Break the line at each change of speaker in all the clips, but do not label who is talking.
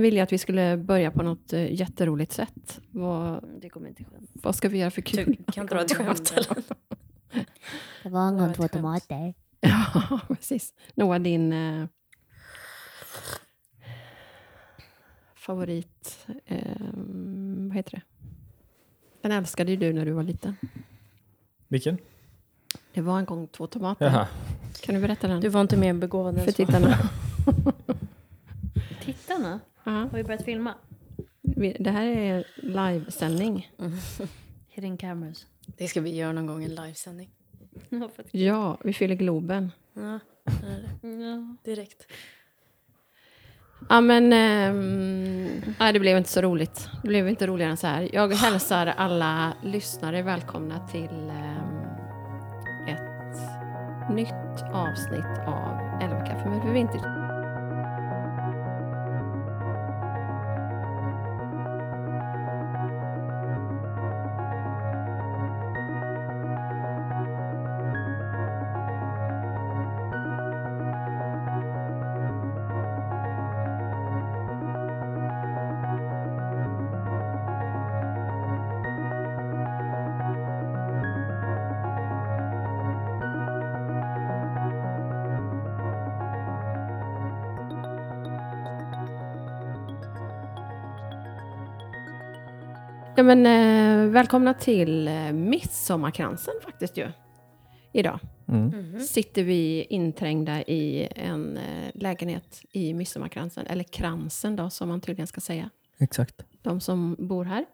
ville att vi skulle börja på något eh, jätteroligt sätt. Vad,
Mm,
Det kommer inte skämt.
vad ska vi göra för kul?
Du kan dra ett skämt eller?
Det var en
Det var
gång
ett
två
skämt.
tomater.
Ja, precis. Noah, din eh, favorit... Eh, vad heter det? Den älskade ju du när du var liten.
Vilken?
Det var en gång två tomater.
Jaha.
Kan du berätta den
Du var inte mer begåvad än
för
så.
tittarna?
Tittarna?
Ja.
Har vi börjat filma?
Vi- Det här är livesändning.
Hidden cameras.
Det ska vi göra någon gång, en livesändning.
Ja, för att-
Ja, vi fyller Globen.
Ja,
ja.
direkt.
Ja, men... ehm, nej, det blev inte så roligt. Det blev inte roligare än så här. Jag hälsar alla lyssnare välkomna till ehm, ett nytt avsnitt av 11 kaffe med för vintage. Ja, men, eh, välkomna till eh, midsommarkransen faktiskt ju. Idag
Mm.
sitter vi inträngda i en eh, lägenhet i midsommarkransen, eller kransen då som man tydligen ska säga.
Exakt.
de som bor här.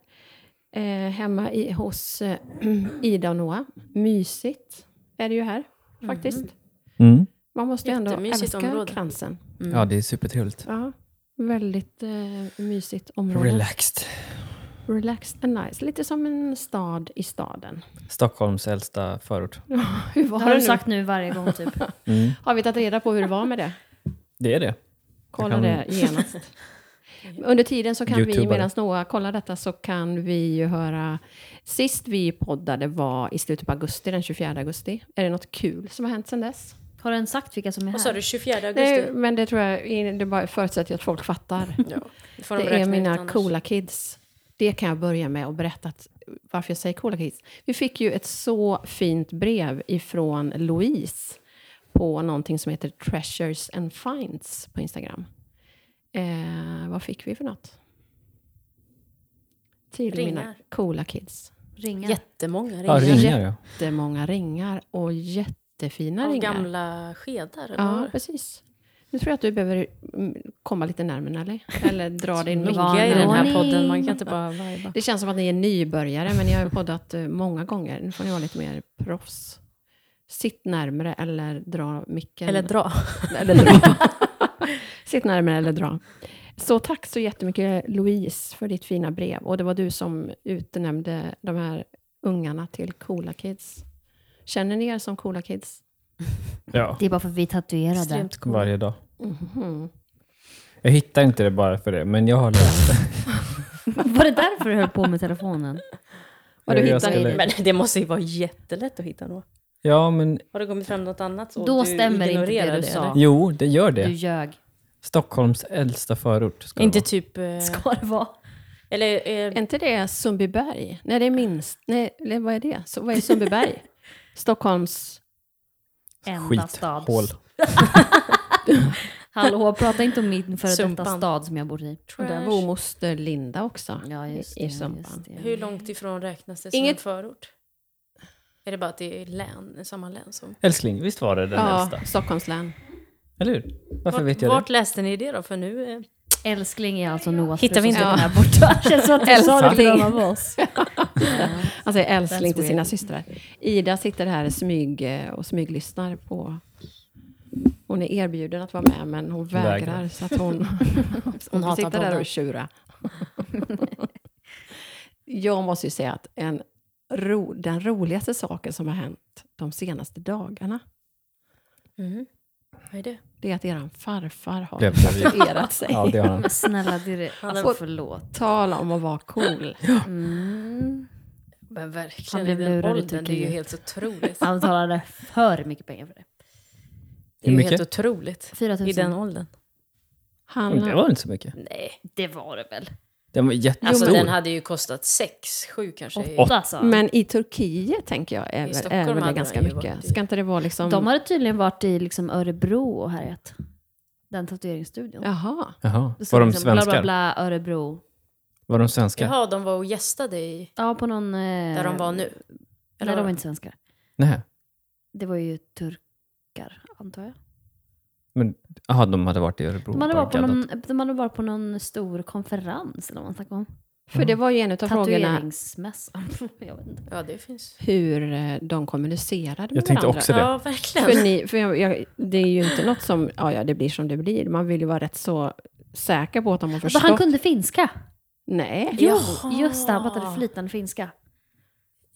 Eh, hemma i, hos eh, Ida och Noah. Mysigt är det ju här faktiskt.
Mm.
Man måste ju ändå
Jättemysigt
älska
område.
kransen.
Ja, det är supertrevligt.
Ja, väldigt eh, mysigt område.
Relaxed.
Relaxed and nice. Lite som en stad i staden.
Stockholms äldsta förort.
Hur var det,
Det har du
nu?
sagt nu varje gång typ.
Mm.
Har vi tagit reda på hur det var med det?
Det är det.
Kolla
kan-
det genast. Under tiden så kan vi,
Youtubare.
medan Noah kollar detta, så kan vi ju höra... Sist vi poddade var i slutet på augusti, den 24 augusti. Är det något kul som har hänt sedan dess?
Har den sagt vilka som är
Vad sa
här?
du, 24 augusti?
Nej, mm, men det tror jag, det bara förutsätter jag att folk fattar.
Ja, det får de
Det är
beräkna ut
mina
annars.
coola kids. Det kan jag börja med och berätta att, varför jag säger coola kids. Vi fick ju ett så fint brev ifrån Louise på någonting som heter Treasures and Finds på Instagram. Eh, vad fick vi för något? Till mina
Ringar.
coola kids.
Ringar.
Jättemånga ringar.
Ja, ringar ja.
Det är många ringar och jättefina
Av
ringar.
gamla skedar? eller vad var
Ja,
det?
precis. Nu tror jag att du behöver mm, komma lite närmare Nelly. Eller dra din mick.
Ligga i den här
närmare.
podden, man kan inte bara vajba.
Det känns som att ni är nybörjare, men ni har ju poddat eh, många gånger. Nu får ni vara lite mer proffs. Sitt närmre eller dra micken.
Eller dra.
Eller dra. Sitt närmare eller dra. Så tack så jättemycket Louise för ditt fina brev. Och det var du som utnämnde de här ungarna till coola kids. Känner ni er som coola kids?
ja.
Det är bara för att vi är tatuerade.
Extremt coola.
Varje dag.
Mhm.
Jag hittar inte det bara för det, men jag har läst det.
Var det därför du höll på med telefonen?
Och du
Jag
hittar
skulle-
Men det måste ju vara jättelätt att hitta något.
Ja, men
Har det kommit fram något annat? så
Då
du
stämmer inte det
ignorerar
du sa.
eller?
jo, det gör
Du
det.
ljög.
Stockholms äldsta förort. Ska det
Inte
vara.
typ... eh,
Ska det vara?
Eller eh,
Är inte det Sundbyberg? Nej, det är minst. Nej, eller vad är det? Så, vad är Sundbyberg? Stockholms...
Enda stads.
typ
skithål.
Hallå, prata inte om min före detta
Sumpan.
stad som jag bor i.
Och där
trash.
bor moster Linda också.
Ja, just det.
I Sumpan.
Just det.
Hur långt ifrån räknas det som
Inget-
en förort? Är det bara att det är län, samma län som...
Älskling, visst var det den
Ja,
äldsta?
Stockholms län.
Eller hur? Varför
Vart,
vet jag
vart
det?
läste ni det då? För nu... eh,
Älskling är alltså Noahs
Hittar
fru
vi
som sitter
inte den
här borta. Det känns som att du sa det till
Älskling.
någon av oss.
Han säger älskling
That's
till sina
weird.
systrar. Ida sitter här smyg eh, och smyglyssnar på... Hon är erbjuden att vara med, men hon vägrar.
Vägrar.
Så att hon, hon,
hatar
hon sitter där
podden.
och tjura. Jag måste ju säga att en ro, den roligaste saken som har hänt de senaste dagarna,
Mm. Vad är det?
det är att eran farfar har
Blev gravid.
tatuerat sig.
Ja, det har han.
Men Snälla, det är det. Alltså,
Och-
förlåt.
Tala om att vara cool.
Mm.
Men verkligen,
Han blev
i den
lurad,
åldern,
tycker
Det är ju
jag.
helt otroligt.
Han betalade för mycket pengar för det.
Det är ju
mycket?
helt otroligt.
4 000.
I den åldern.
Han,
Men Det var inte så mycket.
Nej.
Det var det väl?
Den var jättestor.
Alltså den hade ju kostat sex, sju kanske. i-
Åtta sa han.
Men i Turkiet tänker jag är, väl-
Stockholm
är väl
hade
det
han
ganska
ju
mycket.
varit i-
Ska inte det vara liksom...
De hade tydligen varit i liksom Örebro och härjat. Den tatueringsstudion.
Jaha.
Jaha.
Det stod
Var de
liksom bla, bla,
svenskar?
bla, Örebro.
Var de svenskar?
Jaha, de var och gästade i,
Ja, på någon... Eh,
där de var nu.
Nej, de var inte svenskar.
Nej.
Det var ju turkar, antar jag.
Jaha, de hade varit i Örebro.
De hade, varit på
Gaddat.
någon, de hade varit på någon stor konferens eller vad man snackar om.
Mm.
För det var ju en av frågorna
Tatueringsmässa. jag vet inte.
Ja, det finns.
hur eh, de kommunicerade med
Jag tänkte
varandra.
också det.
Ja, verkligen.
För, ni, för jag, jag, det är ju inte något som, ja, ja det blir som det blir. Man vill ju vara rätt så säker på att de har
Alltså,
förstått.
han kunde finska.
Nej.
Jo,
Jaha.
just det. Han pratade flytande finska.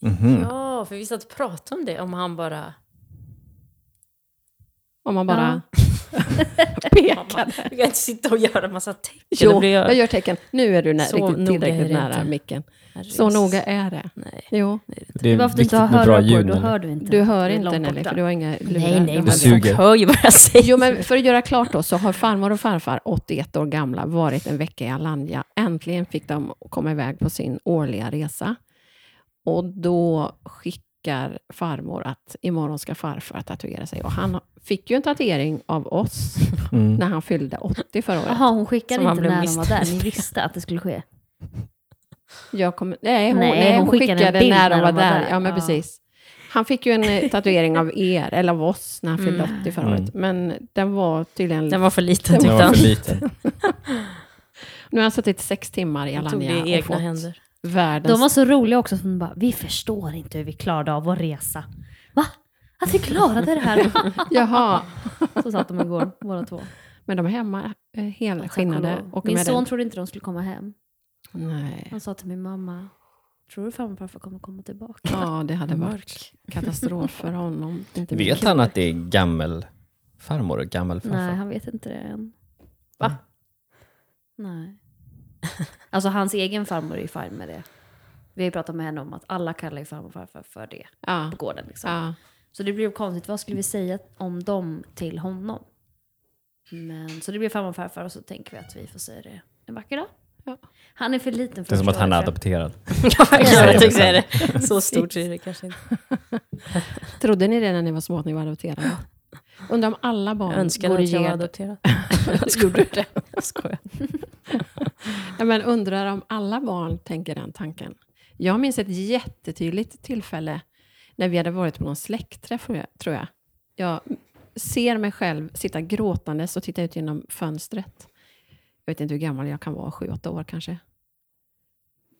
Mhm.
Ja, för vi satt och pratade om det, om han bara...
Om man bara pekar.
Mamma, du kan inte sitta och göra massa tecken. Då
Jo,
blir
jag gör tecken. Nu är du nä-
Så
riktigt
noga är
tillräckligt
det
nära
inte.
micken.
Herregud.
Så noga är det.
Nej.
Jo,
Det
Det
är
var för att du
viktigt
inte har
med bra
hörlurar
ljud.
på, då
Nelly.
hör du inte.
du hör
Det är
inte
långt
Nelly,
borta.
för du har inga lurar.
Nej, nej,
Du
men
har-
suger.
folk hör ju vad jag säger.
Jo, men för att göra klart då, så har farmor och farfar, 81 år gamla, varit en vecka i Alanya. Äntligen fick de komma iväg på sin årliga resa. Och då skickar farmor att imorgon ska farfar tatuera sig. Och han fick ju en tatuering av oss
Mm.
när han fyllde 80 förra året.
Jaha, hon skickade
Som han
inte
blev
när de var där.
misstänkt.
Ni visste att det skulle ske.
Jag kommer- nej, hon,
Nej,
nej,
hon
hon,
skickade en
skickade,
bild
när de var där. Ja, men precis. Han fick ju en eh, tatuering av er, eller av oss, när han fyllde
Mm.
80 förra året. Men den var tydligen...
Den var för liten
Den
tyckte
var
han.
för liten.
Nu har han suttit sex timmar i
Han tog det
Alanya
i
och
egna
fått
händer.
världens
De var så roliga också, som bara, vi förstår inte hur vi klarade av vår resa. Va? Att vi klarade det här?
Jaha,
Så satt de igår, båda två.
men de är hemma eh,
Alltså,
helskinnade.
Min
Åker med
son
den.
trodde inte de skulle komma hem.
Nej.
Han sa till min mamma, tror du farmor och farfar kommer komma tillbaka?
Ja, det hade varit katastrof för honom. Inte
Vet
mycket.
han att det är gammelfarmor och
Nej,
gammelfarfar?
han vet inte det än.
Va?
Nej. Alltså hans egen farmor är ju fine med det. Vi har ju pratat med henne om att alla kallar ju farmor och farfar för det
Ja,
på gården. Liksom.
ja.
Så det blev konstigt, vad skulle vi säga om dem till honom? Men, så det blev farmor och farfar och så tänker vi att vi får säga det en vacker dag.
Ja.
Han är för liten för
Det är som att
förstå
han är
tror jag.
adopterad.
Ja,
säger det
jag tänkte
sen.
säga det. Så stort är det kanske inte.
Trodde ni det när ni var små att ni var adopterade? Undrar om alla barn
Jag önskade
går
att jag var
igenom...
adopterad.
Gjorde det?
Jag skojar.
Ja, men undrar om alla barn tänker den tanken. Jag minns ett jättetydligt tillfälle när vi hade varit på någon släktträff, tror jag- tror jag. Jag ser mig själv sitta gråtandes och titta ut genom fönstret. Jag vet inte hur gammal jag kan vara, sju, åtta år kanske.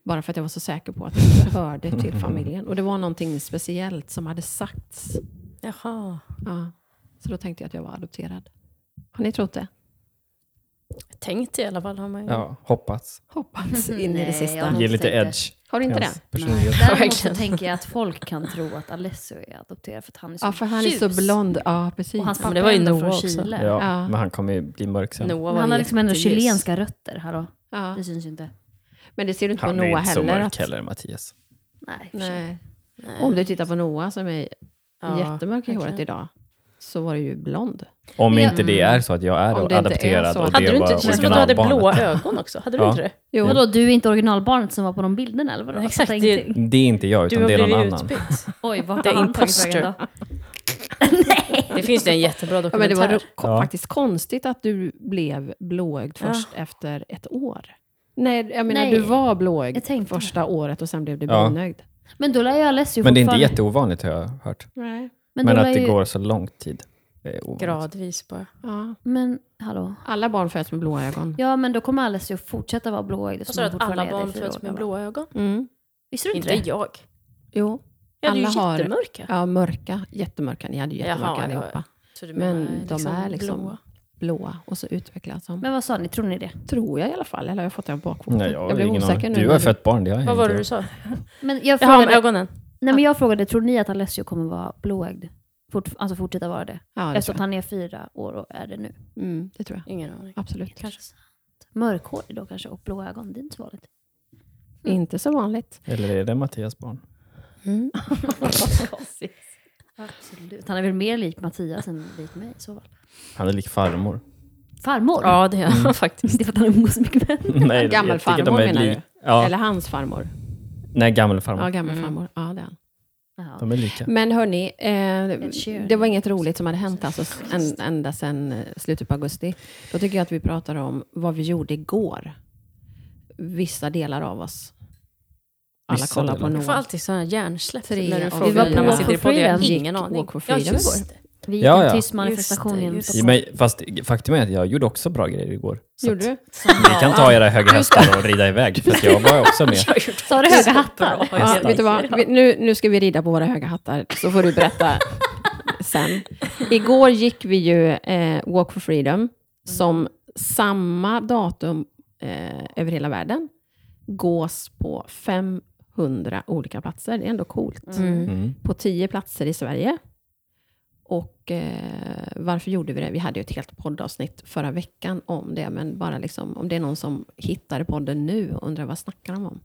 Bara för att jag var så säker på att det inte hörde till familjen. Och det var någonting speciellt som hade sagts.
Jaha.
Ja. Så då tänkte jag att jag var adopterad. Har ni trott det?
Tänkt i alla fall har man ju.
Ja, hoppas.
Hoppats in i det
Nej,
sista.
jag-
Ge lite edge.
Har du inte det?
Hans personlighet.
Däremot så
Verkligen.
tänker jag att folk kan tro att Alessio är adopterad för att han är så
Ja, för han är
ljus.
så blond. typ. Ja, precis.
Och hans
Ja,
pappa
men det var ju
är ändå
Noah
från
också.
Chile.
Ja,
Ja.
men han kommer ju bli mörk sen.
Noah var
Han har liksom ändå
jätteljus.
chilenska rötter. Hallå?
Ja.
Det syns ju inte.
Men det ser du inte
Han
på
är
Noah
inte så
heller.
mörk
Att,
heller, Mattias.
Nej, i och för sig.
nej.
Nej.
Om du tittar på Noah som är
Ja,
jättemörk i håret
verkligen.
idag, så var det ju blond.
Om
Ja.
inte det är så att jag är
Om det inte är
adopterad
så.
och det
Hade du
var
inte, det känns som att du hade
originalbarnet.
blåa ögon också. Hade du
Ja.
inte det?
Jo,
Vadå, du är inte originalbarnet som var på de bilderna eller vadå?
Nej,
Jag
exakt,
fattar
det är-
ingenting.
Det är inte jag, utan
Du har
det är någon
blivit
annan.
utbytt.
Oj, vart
The
har han tagit vägen då?
Det finns ju en jättebra
ja, men
dokumentär.
det var ro- ko-
Ja.
faktiskt konstigt att du blev blåögd
Ja.
först efter ett år. Nej, jag menar
Nej.
du var
Jag
blåögd
tänkte
första året och sen blev du
Ja.
brunögd.
Men då lär ju Alessio
Men det är inte
fortfarande...
jätteovanligt har jag hört.
Nej.
Men,
då lär
att det
ju-
går så lång tid. Det är ovanligt.
Gradvis bara.
Ja.
Men hallå?
Alla barn föds med blå ögon.
Ja, men då kommer Alessio fortsätta vara blåögd
Vad
eftersom
sa du
han
att alla
fortfarande är
barn
det i fyra
föds
år
med
gammal.
blåa ögon?
Mm.
Visste du inte
Inte
det?
jag.
Jo.
Jag hade ju
Alla har-
jättemörka.
Ja, mörka. Jättemörka. Ni hade ju jättemörka
Jaha, ja.
allihopa.
Så du
Men
menar
de är liksom
blåa.
Mm.
blåa och så utvecklas de.
Men vad sa ni, tror ni det?
Tror jag i alla fall, eller har jag fått det av bakfoten?
Nej, jag, har
blev
ingen
osäker
aning.
nu.
Du har fött barn, det har jag
Vad var det
inte.
du sa?
Men jag
Jaha,
frågade,
om ögonen.
nej, men jag frågade, tror ni att Alessio kommer vara blåögd? Fort, alltså fortsätta vara det?
Ja, det
Eftersom
tror
att han är fyra år och är det nu.
jag. Mm, det tror jag.
Ingen aning.
Absolut.
Kanske.
Mörkhårig då kanske och blå ögon, det är inte så vanligt.
Mm. Inte så vanligt.
Eller är det Mattias barn?
Absolut. Han är väl mer lik Mattias än lik mig i så fall.
Han är lik farmor.
farmor.
Ja, det är jag faktiskt.
Det är för att han umgås så mycket med
Nej, jag
Gammelfarmor
tycker de är
menar
li-
du?
Ja,
Eller hans farmor.
nej gammelfarmor.
Ja, gammelfarmor. Ja, det är han.
henne.
De är lika.
Men hörni, eh,
Ed Sheeran.
det var inget roligt som hade hänt alltså, s- en, ända sedan eh, slutet på augusti. Då tycker jag att vi pratar om vad vi gjorde igår. Vissa delar av oss. Alla
Vissa
kollar på
delar.
Jag får
Noah.
alltid sådana hjärnsläpp
Tre
när du
av
frågar
fyra.
när man sitter i
Walk for
podden. Jag har
freedom.
ingen
Gick
aning.
walk for
ja,
freedom
just det.
Vi gick
Ja,
en
ja.
tyst manifestation
Just det,
genom
just
Stockholm.
Men, fast faktum är att jag gjorde också bra grejer igår. Så
Gjorde
att
du?
Ni kan ta era höga hästar och rida iväg, för att jag var också med.
Sa du höga hattar?
Ja, vet du vad? Vi, nu, nu ska vi rida på våra höga hattar, så får du berätta sen. Igår gick vi ju eh, Walk for Freedom, som samma datum eh, över hela världen gås på 500 olika platser. Det är ändå coolt.
Mm.
På 10 platser i Sverige. Och eh, varför gjorde vi det? Vi hade ju ett helt poddavsnitt förra veckan om det, men bara liksom, om det är någon som hittar podden nu och undrar vad snackar de om?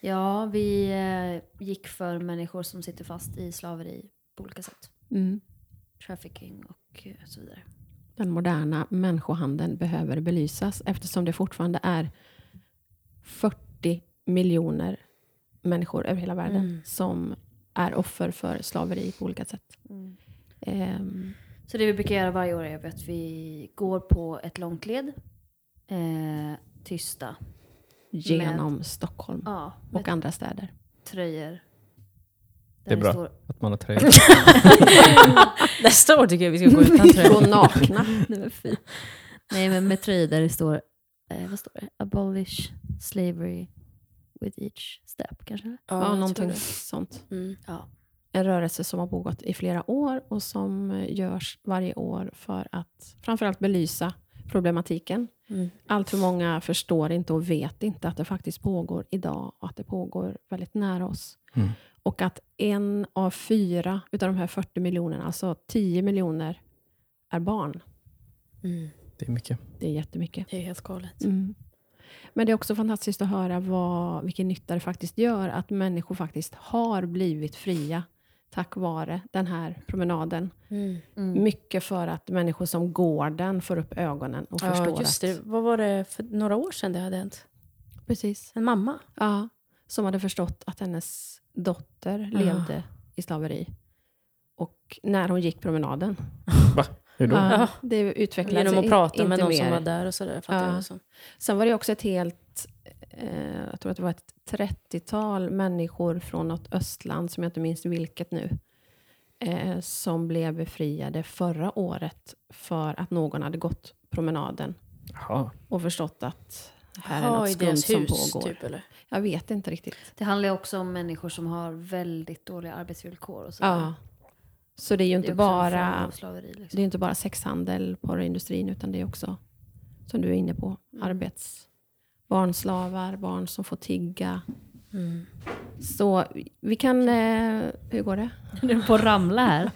Ja, vi eh, gick för människor som sitter fast i slaveri på olika sätt.
Mm.
Trafficking och eh, så vidare.
den moderna människohandeln behöver belysas eftersom det fortfarande är 40 miljoner människor över hela världen
Mm.
som är offer för slaveri på olika sätt.
Mm.
Ehm,
Så det vi brukar göra varje år är att vi går på ett långt led. Eh, tysta.
genom Stockholm
Ja, med
och andra städer.
tröjor.
Det är bra. Att man har tröja.
Nästa år tycker jag vi ska gå utan tröja.
Och nakna.
Nej, fy. Nej, men med tröjor där det står, eh, vad står det? Abolish slavery with each step kanske?
Ja,
jag tror
någonting
det.
sånt.
Mm.
Mm, Ja.
En rörelse som har pågått i flera år och som eh, görs varje år för att framförallt belysa problematiken
Mm.
Allt för många förstår inte och vet inte att det faktiskt pågår idag och att det pågår väldigt nära oss.
Mm.
Och att en av fyra utav de här 40 miljonerna, alltså 10 miljoner, är barn.
Mm.
Det är mycket.
Det är jättemycket.
Det är helt galet.
Mm. Men det är också fantastiskt att höra vad, vilken nytta det faktiskt gör att människor faktiskt har blivit fria tack vare den här promenaden.
Mm.
Mycket för att människor som går den får upp ögonen och förstår
Ja, just det.
att...
Vad var det för några år sedan det hade hänt?
Precis.
En mamma?
Ja, som hade förstått att hennes dotter
Ja.
levde i slaveri. Och när hon gick promenaden.
Hur då?
Ja, det utvecklade
Ah. Genom
sig
att
i-
prata
inte
med någon
mer.
som var där och sådär.
Ja.
fattar liksom. jag det som.
Sen var det också ett helt, eh, jag tror att det var ett 30-tal människor från något östland, som jag inte minns vilket nu, eh, som blev befriade förra året för att någon hade gått promenaden
Jaha.
och förstått att här är
Ja,
något
i
skumt
deras
som
hus
pågår.
typ eller?
Jag vet inte riktigt.
Det handlar ju också om människor som har väldigt dåliga arbetsvillkor och så.
Ja. Så det är ju inte
också en form
bara
av Slaveri,
Så
liksom.
Det är inte bara sexhandel, porrindustrin, utan det är också, som du är inne på,
Mm.
arbets... Barnslavar, barn som får tigga.
Mm.
Så vi kan... Eh, hur går det?
Du är på att ramla här.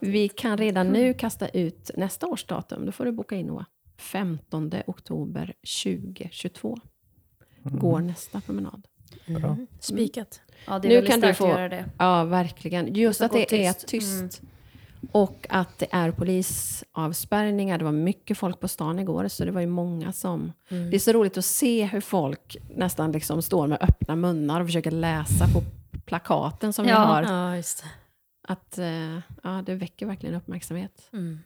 Vi kan redan nu kasta ut nästa års datum. Då får du boka in Noah. 15 oktober 2022 går nästa promenad.
Bra.
Mm. Spikat.
Ja, det är
Nu
väldigt
kan du
starkt
få-
att göra det.
Ja, verkligen. Just
Så
att
gå
det är
tyst.
tyst.
Mm.
Och att det är polisavspärrningar. Det var mycket folk på stan igår, så det var ju många som...
Mm.
Det är så roligt att se hur folk nästan liksom står med öppna munnar och försöker läsa på plakaten som vi
Ja.
har.
Ja, just det.
Att, eh, ja, det väcker verkligen uppmärksamhet.
Mm.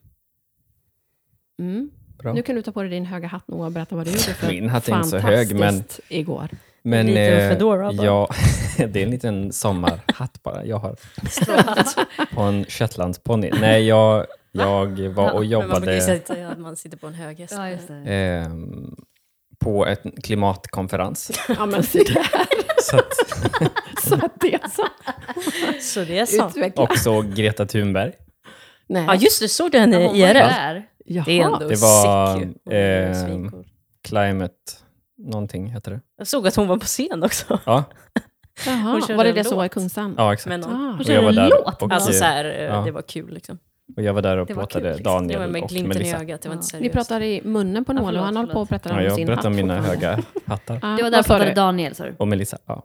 Mm.
Bra.
Nu kan du ta på dig din höga hatt, Noah, och berätta vad du gjorde för
Min hatt är inte så hög, men-
fantastiskt igår.
Men, eh,
En liten fedora bara.
ja, det är en liten sommarhatt bara. Jag har på en shetlandsponny. Nej, jag, jag var och
Men man brukar ju
jobbade
säga att man sitter på en hög häst.
Ja, just det.
ehm, på en klimatkonferens.
Ja, men se där,
Så att,
så att det är så
Så det är sant.
utvecklat.
och så Greta Thunberg.
Nej.
Alltså. Ja, just det. Såg du henne
Ja, hon
i
var ju
IRL?
där.
Det är
Jaha.
ändå
Det var,
sick ju. Hon är
ehm,
svincool.
Climate någonting heter det.
Jag såg att hon var på scen också.
Ja,
Jaha,
Hon körde
var det
en
det som
låt.
var i Kungshamn?
ja exakt.
Med någon.
Ah.
Och
körde
jag var
en
där
låt.
och,
Alltså så här, eh,
Ja.
det var kul liksom.
och jag var där och
Det var
pratade
kul, liksom.
Det var
Daniel
med
och
glimten i
Melissa.
ögat, det var inte seriöst.
Ni pratar i munnen på
Ja,
Noel och han
förlåt,
håller på och berättar
Ja,
om
jag
sin
berättade om mina
fortfarande.
höga hattar.
Ja,
Det var
vad sa
därför
du?
Daniel, sa du.
Och Melissa, ja.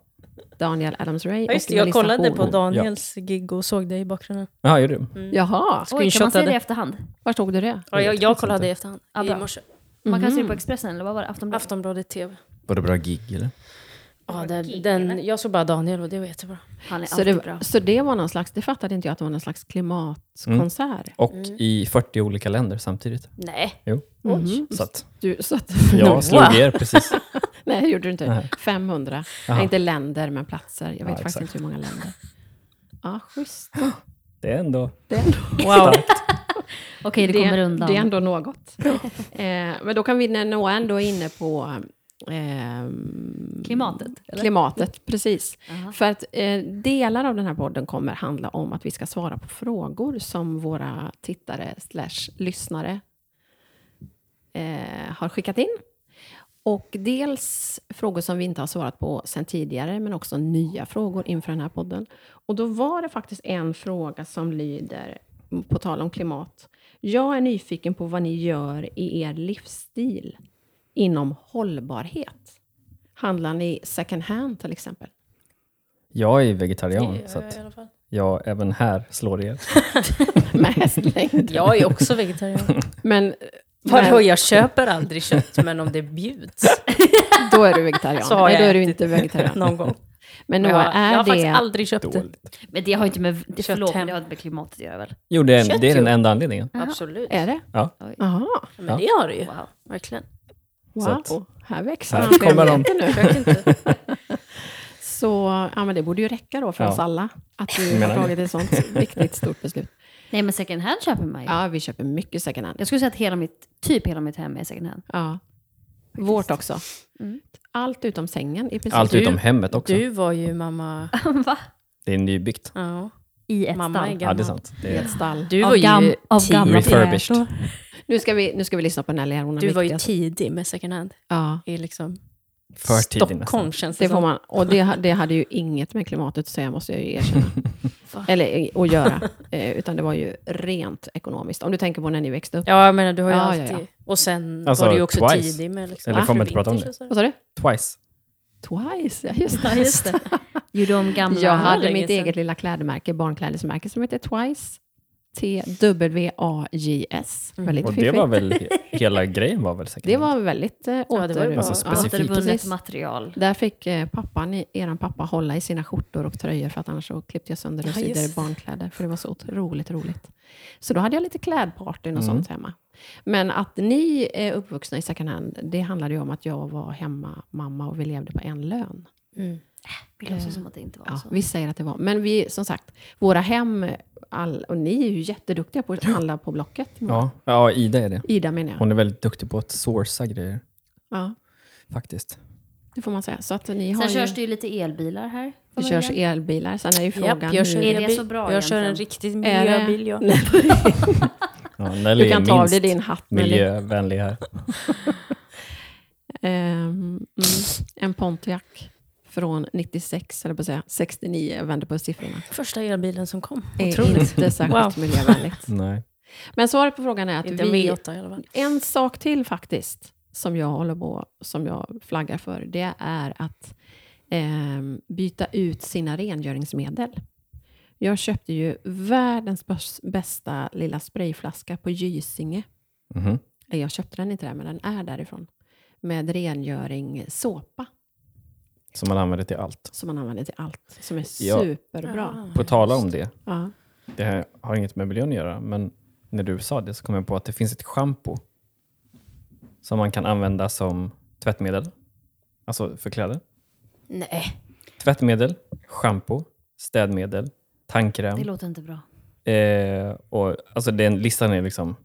Daniel Adams-Ray
Ja, just det,
och
jag
Melissa
kollade på
Horn.
Daniels gig och såg dig i bakgrunden.
Jaha, gjorde du?
Jaha,
Oj, kan man se
Screenshotade.
det i efterhand?
var tog du det?
Mm. Ja, jag,
vet
jag
faktiskt
kollade
inte.
i efterhand.
Ja,
I
bra.
morse.
Man kan se det
Mhm.
på Expressen eller vad var det? Aftonbladet?
Aftonbladet TV.
Var det bra gig eller?
Ja, den, den, jag såg bara Daniel och det var jättebra.
Han är
Så
alltid
det,
bra.
så det var någon slags, det fattade inte jag att det var någon slags klimatkonsert.
Och
Mm.
i 40 olika länder samtidigt.
Nej.
Jo. Mm.
Mhm.
Så att
Du, så att,
jag slog er precis.
Nej, det gjorde du inte.
Nej.
500.
Jaha.
Nej, inte länder, men platser. Jag vet
Ja,
faktiskt
exakt.
inte hur många länder. Ja, schysst.
Det är ändå...
Det är ändå,
Wow.
Okej, det, kommer undan.
det är ändå något. eh, men då kan vi nå ändå inne på ehm,
Klimatet? Eller? Mm.
klimatet. Precis.
Aha.
För att eh, delar av den här podden kommer handla om att vi ska svara på frågor som våra tittare slash lyssnare eh, har skickat in. Och dels frågor som vi inte har svarat på sen tidigare, men också nya frågor inför den här podden. Och då var det faktiskt en fråga som lyder, på tal om klimat. Jag är nyfiken på vad ni gör i er livsstil inom hållbarhet. Handlar ni second hand till exempel?
Jag är vegetarian,
Ja,
så att
i alla fall.
jag även här slår er.
Med hästlängd.
Jag är också vegetarian.
Men,
Vadå,
men
jag köper aldrig kött, men om det bjuds
då är du vegetarian.
Så har
Nej,
jag
då är du
ätit.
inte vegetarian.
någon gång.
Men
Jag,
Noah, är
jag har
det...
faktiskt aldrig köpt det.
Dåligt.
Men det har ju inte med, det,
Kött
förlåt,
hem.
men det har inte med klimatet att göra väl?
Jo, det är,
Kött,
det är den
jo.
enda anledningen.
Absolut.
Är det?
Ja.
Oj.
Jaha.
Ja.
Men det har det ju.
Wow.
Verkligen.
Så
Wow.
att-
här växer
Här
han
kommer de.
fram nu.
Försök inte.
Så ja, men det borde ju räcka då för
Ja.
oss alla. Att
Jag
vi har
menar
tagit ett sånt viktigt stort beslut.
Nej, men second hand köper man ju.
Ja, vi köper mycket second hand.
Jag skulle säga att hela mitt, typ hela mitt hem är second hand.
Ja. Vårt också. Mm. Allt utom sängen i princip.
Allt
Du-
utom hemmet också.
Du var ju mamma...
Va?
Det är nybyggt.
Ja,
I ett
mamma är
stall.
gammal.
Ja, det är sant. Det
I
är
ett stall.
Du
Av
var ju,
gam- av
tidig.
gamla
refurbished.
Nu ska vi, nu ska vi lyssna på Nelly, här, hon har
du var ju
viktigast.
tidig med second hand.
Ja,
I liksom
För tidig nästan.
Stockholm känns det,
det får
som.
man. Och det, det hade ju inget med klimatet att säga, måste jag ju erkänna. Eller eh, att göra. Eh, Utan det var ju rent ekonomiskt. Om du tänker på när ni växte upp.
Ja, jag menar du har ju
Ja, ja,
alltid... Och sen
Alltså,
var du ju också
twice.
tidig med liksom...
Eller
Ah,
får man inte prata om
vintage
det?
och så.
Vad sa du?
Twice.
Twice, ja just det.
Ja, just det. Gjorde om gamla.
Jag hade
länge
mitt
sedan.
eget lilla klädmärke, barnklädesmärke som heter Twice. T-W-A-J-S. Väldigt
Och det
fiffigt.
var väl, he- hela grejen var väl säkert
det var väldigt eh,
var ju
åter...
bra.
Alltså specifikt.
Återvunnet
precis.
material.
Där fick eh, pappan, i- eran pappa hålla i sina skjortor och tröjor för att annars så klippte jag sönder och
Ja,
sydde
just
i barnkläder. För det var så otroligt roligt. Så då hade jag lite klädpartyn och
Mm.
sånt hemma. Men att ni är uppvuxna i second hand, det handlade ju om att jag var hemma mamma och vi levde på en lön.
Mm.
Det låter som att det inte var
Eh, Ja,
Alltså.
så.
vi säger att det var. Men vi, som sagt, våra hem, all, och ni är ju jätteduktiga på att handla på Blocket.
Ja. ja, Ida är det.
Ida menar jag.
Hon är väldigt duktig på att sourca grejer,
Ja,
faktiskt.
det får man säga. Så att ni har
Sen
ju,
körs det ju lite elbilar här.
det körs elbilar. Sen är ju
Japp,
frågan
jag kör,
hur...
Är det
bil-
så bra
Jag kör en
egentligen?
riktig
Är det-
miljöbil, jag.
Ja, Nelly
Du kan
är
ta av
minst
dig din hatt. Nelly.
miljövänlig här.
Ehm, mm, en Pontiac från 96, eller på att säga 69, jag vänder på siffrorna.
Första elbilen som kom.
Är inte särskilt
Wow.
miljövänligt.
Nej.
Men svaret på frågan är att
Inte en
vi...
V8 i alla fall.
En sak till faktiskt, som jag håller på, som jag flaggar för, det är att ehm, byta ut sina rengöringsmedel. Jag köpte ju världens bäs- bästa lilla sprayflaska på Gysinge.
Mhm.
Nej, Jag köpte den inte där, men den är därifrån. Med rengöring såpa,
Som man använder till allt.
som man använder till allt, som är
Ja.
superbra.
Ah.
På tal om det,
Ja.
det här har inget med miljön att göra, men när du sa det så kom jag på att det finns ett schampo som man kan använda som tvättmedel, alltså för kläder.
Nej.
Tvättmedel, schampo, städmedel, tandkräm.
Det låter inte bra.
Eh, och, alltså den listan är liksom...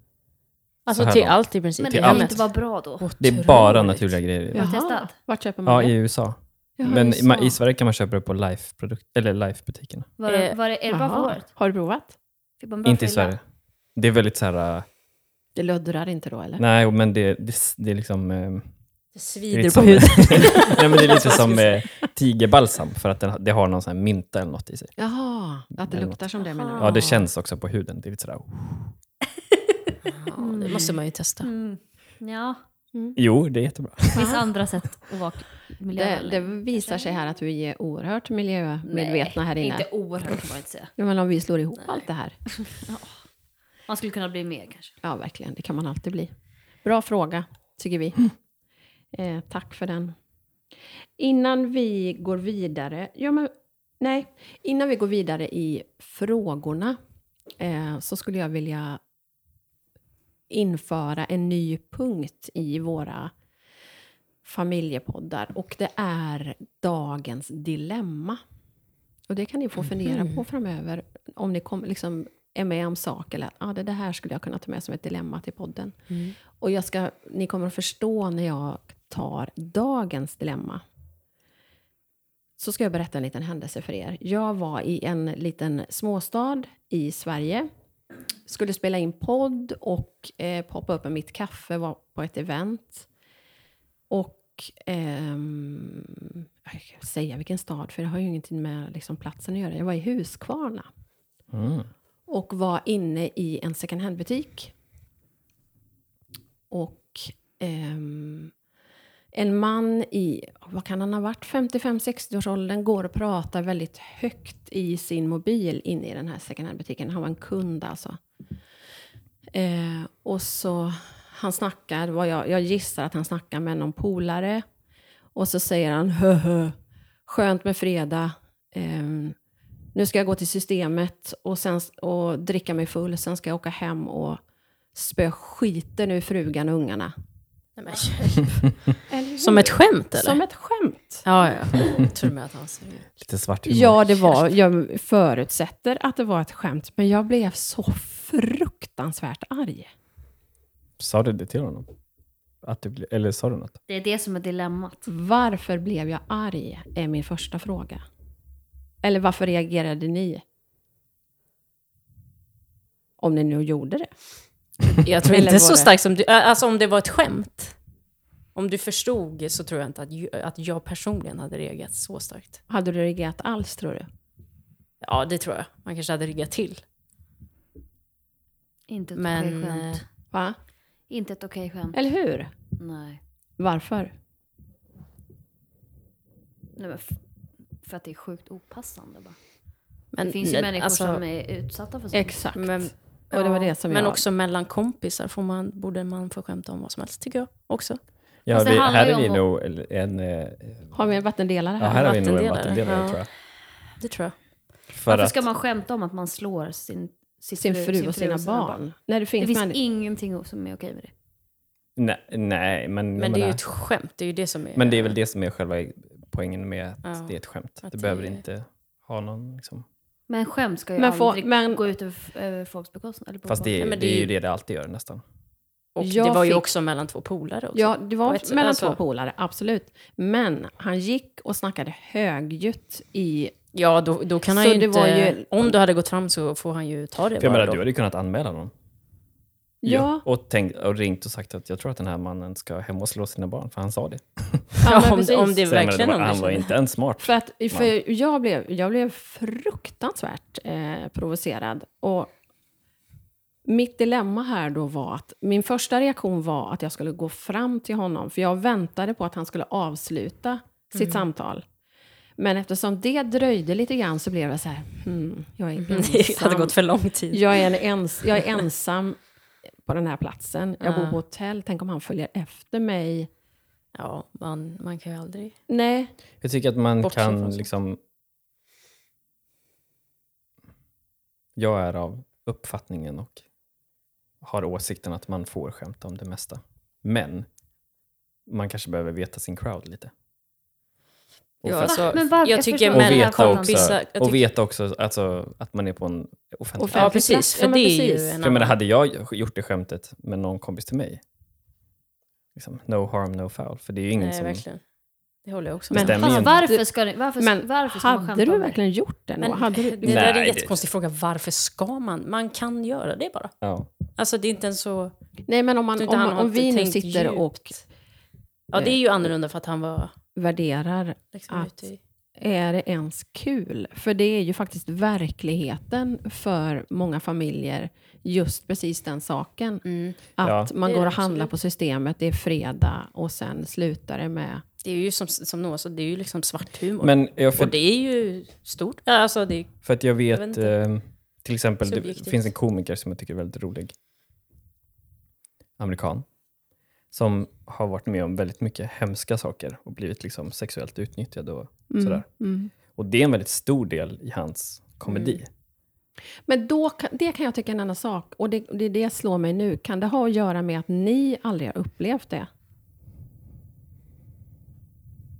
Alltså
Så här
till
då.
allt i princip.
Men
Till
det kan ju
allt.
inte vara bra då.
Det är bara naturliga grejer. i det.
Har du testat?
Vart köper man
Ja,
det?
i USA.
Jaha,
Men
USA.
i, ma- i Sverige kan man köpa det på life produkt eller Life-butikerna.
Var,
Eh,
var det, är det bra för
Jaha.
håret?
Har du provat?
Fick man bra
Inte i
fylla?
Sverige. Det är väldigt så här... eh,
Det luddrar inte då, eller?
nej, men det, det, s- det är liksom... eh,
Det
det är lite
svider på
som,
huden.
nej, men det är lite som eh, tigerbalsam, för att den, det har någon sån här mynta eller något i sig.
Jaha, att det
Eller
luktar som det menar du?
Ja, det känns också på huden. Det är lite oh. sådär...
Ja, det måste man ju testa.
Mm. Ja,
Jo, det är jättebra.
det finns andra sätt att vara
Det,
miljövänlig.
det visar sig här att vi är oerhört miljömedvetna här inne.
Inte oerhört kan man inte säga.
Ja, men om vi slår ihop allt det här.
Man skulle kunna bli mer kanske.
Ja, verkligen. Det kan man alltid bli. Bra fråga, tycker vi. Eh, tack för den. Innan vi går vidare... Ja, men, nej, innan vi går vidare i frågorna eh, så skulle jag vilja införa en ny punkt i våra familjepoddar och det är dagens dilemma. Och det kan ni få fundera på framöver om ni kom, liksom, är med om saker eller att ah, det, det här skulle jag kunna ta med som ett dilemma till podden. Och jag ska, ni kommer att förstå när jag tar dagens dilemma. Så ska jag berätta en liten händelse för er. Jag var i en liten småstad i Sverige. Skulle spela in podd och eh, poppa upp med mitt kaffe, var på ett event. Och ehm, jag kan säga vilken stad, för det har ju ingenting med liksom, platsen att göra. Jag var i Huskvarna
Mm.
och var inne i en second hand-butik. Och ehm, en man i, vad kan han ha varit, 55-60-årsåldern går och pratar väldigt högt i sin mobil inne i den här second hand-butiken. Han var en kund alltså. Eh, och så han snackar, vad jag, jag gissar att han snackar med någon polare. Och så säger han hö, hö skönt med fredag. Ehm, nu ska jag gå till systemet och, sen, och dricka mig full. Sen ska jag åka hem och spö skiten ur frugan och ungarna.
Nej, men, som ett skämt eller?
Som ett skämt.
Ja, ja. Jag tror med att han ser ut.
Lite svart humor.
Ja, det var, jag förutsätter att det var ett skämt, men jag blev så fruktansvärt arg.
Sa du det till honom? Att du, ble- eller sa du något?
Det är det som är dilemmat.
Varför blev jag arg? Är min första fråga. Eller varför reagerade ni? Om ni nu gjorde det.
Jag tror
Eller
inte
var
så
det-
starkt som du... Alltså om det var ett skämt. Om du förstod så tror jag inte att, ju- att jag personligen hade reagerat så starkt.
Hade du reagerat alls, tror du?
Ja, det tror jag. Man kanske hade riggat till.
Inte ett
Men,
okej skämt.
eh,
Va?
Inte ett okej skämt.
Eller hur?
Nej.
Varför?
Nej men f- för att det är sjukt opassande bara.
Men,
det finns ju
men,
människor
alltså,
som är utsatta för sånt.
Exakt.
Men-
och det var
ja,
det som
Men
jag...
också mellan kompisar får man, borde man få skämta om vad som helst, tycker jag. Också.
Ja,
Fast
Alltså,
det
vi,
handlar
här
ju
är vi
om-
nog en... en eh,
Har vi en vattendelare
ja,
här?
här har vi nog en
vattendelare.
vattendelare
Ja.
tror jag.
Det tror jag.
För
Varför
att,
ska man skämta om att man slår sin, sitt
Sin fru och sina barn. När det
Det
finns,
finns
människor-
ingenting som är okej med det.
nej, nej, men...
Men
jag
det är ju
menar-
ett skämt. Det är ju det som är...
Men det är väl det som är själva poängen med att
Ja,
det är ett skämt.
att
Det
det
behöver
är-
inte ha någon... Liksom.
Men skämt ska ju
Men få-
aldrig
men-
gå ut över, f- över folks bekostnad. Eller på
Fast det
bekostnad.
är,
Ja, men
det
det
är
är
ju det det alltid gör nästan.
Och det
Jag
var ju
fick-
också mellan två polare också.
Ja, det var
På ett sätt,
mellan
alltså.
två polare, absolut. Men han gick och snackade högljutt i...
Ja, då, då kan han
Så
ju
det
inte...
var ju-
Om du hade gått fram så får han ju ta det
För jag
bara
menar,
då.
du hade ju kunnat anmäla någon.
Ja,
Och, tänkt, och ringt och sagt att jag tror att den här mannen ska hem och slå sina barn, för han sa det.
ja, men
om-
precis.
om det- är
Så jag
verkligen
menar,
någon
han var
som-
inte ens smart.
För, att, för jag, blev, jag blev fruktansvärt eh, provocerad. Och mitt dilemma här då var att min första reaktion var att jag skulle gå fram till honom, för jag väntade på att han skulle avsluta
Mm.
sitt samtal. Men eftersom det dröjde lite grann så blev jag så här, hmm, jag är
Det hade
ensam.
gått för lång tid.
Jag är, en ens, jag är ensam på den här platsen. Jag bor på hotell. Tänk om han följer efter mig.
Ja, man, man kan ju aldrig...
Nej,
Jag tycker att man
Bortse från
kan
sånt.
liksom... Jag är av uppfattningen och har åsikten att man får skämta om det mesta. Men man kanske behöver veta sin crowd lite. Och
Ja,
för-
alltså,
Men varför-
jag
jag
tycker
förstår
Och
Men
mellan
veta
här får man-
kompisar...
också,
Jag tycker,
och veta också alltså, att man är på en offentlig
Offentlig-
ja,
plats.
precis. För
Ja, men
det är ju
precis.
en
För jag menar,
annan...
hade jag gjort det skämtet med någon kompis till mig, liksom, no harm, no foul. För det är ju ingen
Nej,
som...
verkligen. Det håller jag också
Men-
med
Stämmer
Fast
ju inte.
varför ska, ni, varför,
men
varför ska man
hade
skämta
du
om det?
verkligen gjort det?
Men
Men, hade du,
det där är
Nej,
en
det-
jättekonstig fråga. Varför ska man? Man kan göra det bara.
Ja.
Alltså det är inte ens så...
nej, men om,
Jag tror
man,
inte
om,
han har
om vi nu
tänkt
sitter
djupt.
och eh,
Ja, det är ju annorlunda för att han var
värderar,
liksom
Att-
ute i...
är det ens kul? För det är ju faktiskt verkligheten för många familjer, just precis den saken. Att man
det är
går
det
och handlar
absolut.
på systemet, det är fredag och sen slutar det med
Det är ju som, som Noah sa, det är ju liksom svart humor.
Men jag,
och
för,
det är ju stort. Ja, Alltså, det är,
för att jag vet,
jag vet inte.
ehm, till exempel, det
Subjektivt.
finns en komiker som jag tycker är väldigt rolig. Amerikan. Som har varit med om väldigt mycket hemska saker och blivit liksom sexuellt utnyttjad och sådär. Och det är en väldigt stor del i hans komedi.
Men då, kan- det kan jag tycka är en annan sak, och det, det, det slår mig nu. Kan det ha att göra med att ni aldrig har upplevt det?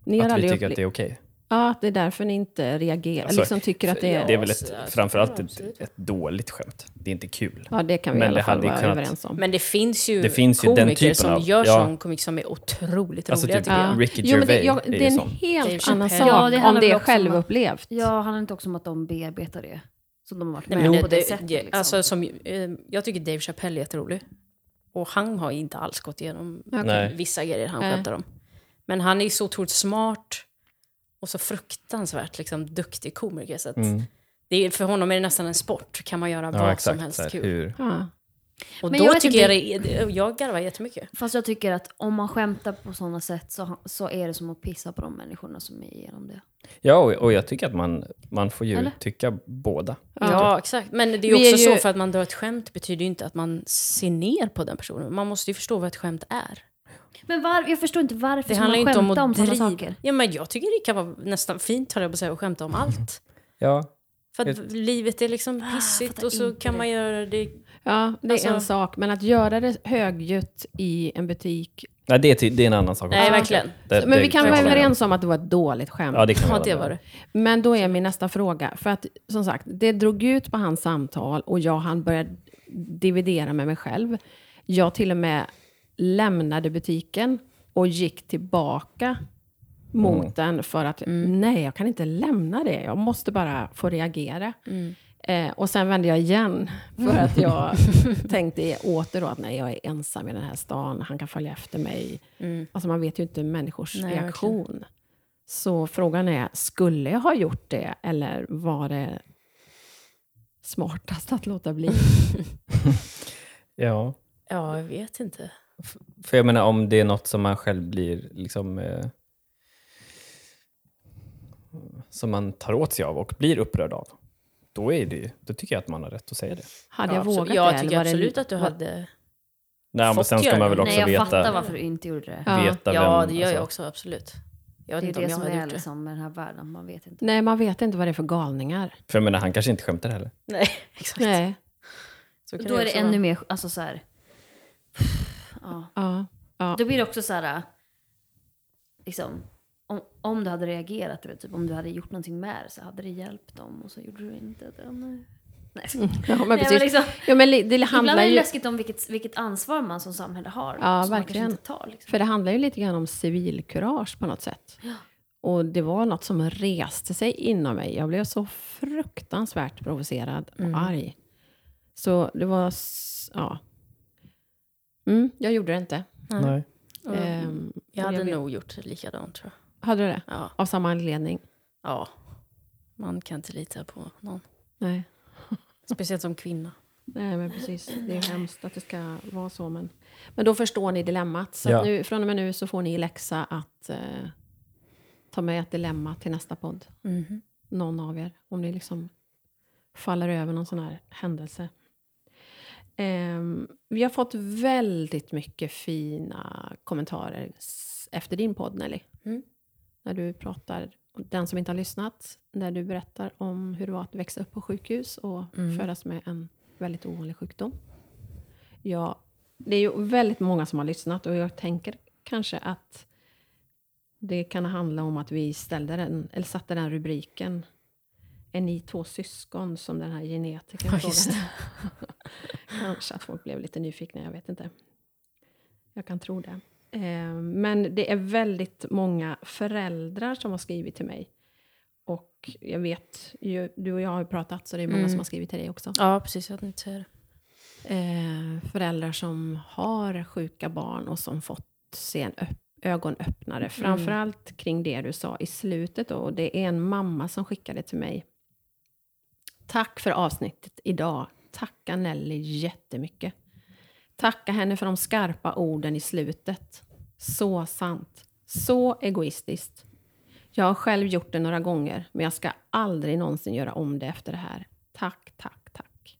Ni har
Att vi
aldrig
tycker att
upplevt...
det är okej.
Ja, att det är därför ni inte reagerar,
Alltså,
liksom tycker att det är...
Det är väl ett,
alltså,
framförallt ett,
absolut.
ett dåligt skämt. Det är inte kul.
Ja, det kan vi
Men
i alla
det
fall
hade
vara
kunnat-
överens om.
men det finns ju
Det finns ju den
komiker
typen
som
av-
gör
ja.
sån komik som är otroligt
Alltså
roliga
typ
tycker jag.
Ricky
Jo, men det,
Gervais
jag,
är
det
ju
är en
sån.
Det är ju
helt
så
annan
här-
sak
Ja,
det
om
handlar
det
väl
är
också om att-
självupplevt.
Ja, handlar det inte också om att de bearbetar det? Som de har varit med
Men
om
det,
på det,
det,
sättet.
det,
liksom.
alltså, som, eh, jag tycker Dave Chappelle är jätterolig. Och han har inte alls gått igenom
Okej.
Nej.
vissa grejer han
Nej.
skämtar om. Men han är ju så otroligt smart och så fruktansvärt liksom, duktig komiker. Så att
Mm.
det är, för honom är det nästan en sport. Kan man göra
Ja,
vad
exakt.
som helst
så här,
kul.
hur,
Ja.
Och
Men
då
jag vet
tycker jag det, det- jag garvar jättemycket.
Fast jag tycker att om man skämtar på sådana sätt så, så är det som att pissa på de människorna som är igenom det.
Ja, och, och jag tycker att man, man får ju
Eller?
tycka båda.
Ja, exakt. Men det är ju
Vi är
också
ju-
så, för att man drar ett skämt betyder ju inte att man ser ner på den personen. Man måste ju förstå vad ett skämt är.
Men var, jag förstår inte varför
Det
ska
handlar ju
man
inte om
skämta
att
om sådana
driva.
saker.
Ja, men jag tycker det kan vara nästan fint, höll jag på att säga, att skämta om allt.
Ja,
För att
Helt-
livet är liksom pissigt
fattar
och så
inte
kan
det.
man göra det...
Ja, det är
Alltså-
en sak. Men att göra det högljutt i en butik.
Nej, det, är ty- det är en annan sak.
Nej,
också.
verkligen.
Det-
Men
det-
vi kan
det-
vara
det-
överens om att det var ett dåligt skämt.
Ja, det kan vi
Ja,
vara
det
överens
var
om.
det.
Men då är min nästa fråga, för att som sagt, det drog ut på hans samtal och jag han började dividera med mig själv. Jag till och med lämnade butiken och gick tillbaka
Mm.
mot den för att nej, jag kan inte lämna det. Jag måste bara få reagera.
Mm.
Eh, och sen vände jag igen för att jag tänkte åter då att nej, jag är ensam i den här stan. Han kan följa efter mig. Alltså man vet ju inte människors
Mm. Nej,
reaktion. Så frågan är, skulle jag ha gjort det eller var det smartast att låta bli?
Ja,
Ja, jag vet inte.
för jag menar om det är något som man själv blir liksom... Eh, som man tar åt sig av och blir upprörd av. Då, är det, ju- då tycker jag att man har rätt att säga det.
Hade
Ja,
jag
absolut.
vågat
jag
det? eller
tycker
var det-
absolut att du
var-
hade...
Nej, men
Fått
sen ska man
göra
väl
det.
också
Nej, jag
veta,
fattar varför du inte gjorde det.
Ja.
veta
Ja,
vem...
det gör jag
alltså,
också absolut. Jag
Det
vet
är
inte om
det
jag
som
hade
är
gjort det.
liksom med den här världen, man vet inte.
Nej, man vet inte vad det är för galningar.
För jag menar, han kanske inte skämtar heller.
Nej, exakt.
Nej.
Så kan
Då är det
också
ännu
vara.
mer, alltså så här. Ja.
Ja. Ja.
Då blir det också så här, äh, liksom, om, om du hade reagerat, du vet, typ, om du hade gjort någonting med det så hade det hjälpt dem och så gjorde du inte det. Nej, nej.
Mm,
ja, men
Nej,
precis.
men liksom,
ja, men li- det
ibland
handlar
är det
ju...
läskigt om vilket, vilket ansvar man som samhälle har.
Ja,
som
verkligen.
Man kanske inte tar, liksom.
För det handlar ju lite grann om civilkurage på något sätt. Och det var något som reste sig inom mig. Jag blev så fruktansvärt provocerad och arg. Så det var... s- Ja. Mm, jag gjorde det inte.
Nej. Och
Ehm,
Jag
och
hade
vet-
nog gjort likadant tror
Hade du det?
jag. Ja.
Av samma anledning?
ja. Man kan inte lita på någon.
Nej.
Speciellt som kvinna.
Nej, men precis. Det är hemskt att det ska vara så. Men, men då förstår ni dilemmat. Så att
Ja.
nu, från och med nu så får ni i läxa att eh, ta med ett dilemma till nästa podd.
Mhm.
Någon av er. Om ni liksom faller över någon sån här händelse. Ehm, vi har fått väldigt mycket fina kommentarer s- efter din podd, Nelly.
Mm.
När du pratar, den som inte har lyssnat, när du berättar om hur det var att växa upp på sjukhus och
Mm.
födas med en väldigt ovanlig sjukdom. Ja, det är ju väldigt många som har lyssnat och jag tänker kanske att det kan handla om att vi ställde den, eller satte den rubriken Är ni två syskon som den här genetikern
Ja, just
frågade? Kanske att folk blev lite nyfikna, jag vet inte. Jag kan tro det. Eh, Men det är väldigt många föräldrar som har skrivit till mig. Och jag vet, ju, du och jag har ju pratat så det är många
Mm.
som har skrivit till dig också.
Ja, precis. Jag hade inte säga det.
Eh, föräldrar som har sjuka barn och som fått se en öpp- ögonöppnare. Framförallt kring det du sa i slutet då, och det är en mamma som skickade till mig. Tack för avsnittet idag. Tacka Nelly jättemycket. Tacka henne för de skarpa orden i slutet. Så sant. Så egoistiskt. Jag har själv gjort det några gånger, men jag ska aldrig någonsin göra om det efter det här. Tack, tack, tack.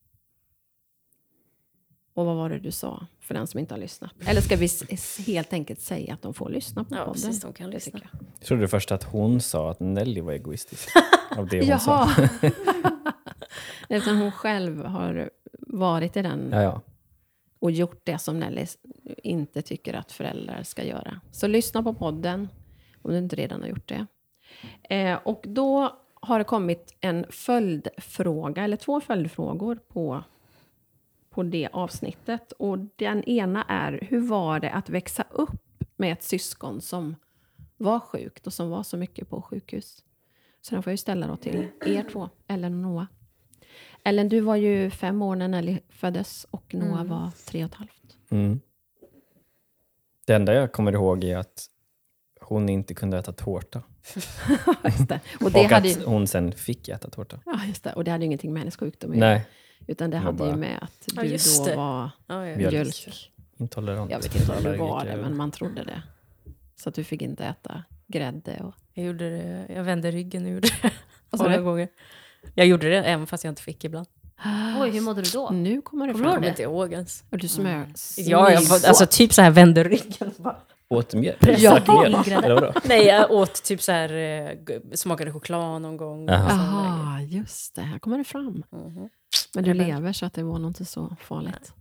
Och vad var det du sa, för den som inte har lyssnat? Eller ska vi s- s- helt enkelt säga att de får lyssna på
Ja,
podden?
precis. De kan lyssna.
tycker
Jag trodde först att hon sa att Nelly var egoistisk. av det hon sa.
Jaha. Nej, Utan hon själv har varit i den
Ja, ja.
och gjort det som Nelly s- inte tycker att föräldrar ska göra. Så lyssna på podden om du inte redan har gjort det. Eh, och då har det kommit en följdfråga, eller två följdfrågor på, på det avsnittet. Och den ena är, hur var det att växa upp med ett syskon som var sjukt och som var så mycket på sjukhus? Så den får jag ju ställa då till er två, Ellen och Noah. Ellen, du var ju fem år när Nelly föddes och Noah var tre och ett halvt.
Mm. Det enda jag kommer ihåg är att hon inte kunde äta tårta.
just det. Och, det
och
hade
att
ju,
hon sen fick äta tårta.
ja, just det. och det hade ju ingenting med hennes sjukdom att göra.
Nej,
Utan det
var
hade ju
bara-
med att
Ja,
du
just
då
det.
var
Ja, ja.
Mjölk.
mjölk.
intolerant.
Jag vet inte om du
Allergiker
var det,
eller-
men man trodde det. Så att du fick inte äta grädde och...
Jag, gjorde det, jag vände ryggen och gjorde det
Vad sa
några
du?
gånger. Jag gjorde det även fast jag inte fick ibland.
Oj, hur mådde du då?
Nu kommer det
Jag kommer
fram.
inte ihåg ens.
Och du som är
Ja, jag, var- alltså typ så här vände ryggen. och bara-
Åt mjölk?
Ja.
Pressat mjölk? Eller vadå?
Nej, jag åt typ så här, eh, g- smakade choklad någon gång.
Jaha.
och sån där
Aha, just det. Här kommer det fram.
grej. Mhm.
Men du
Ellen.
lever, så att det var nog inte så farligt.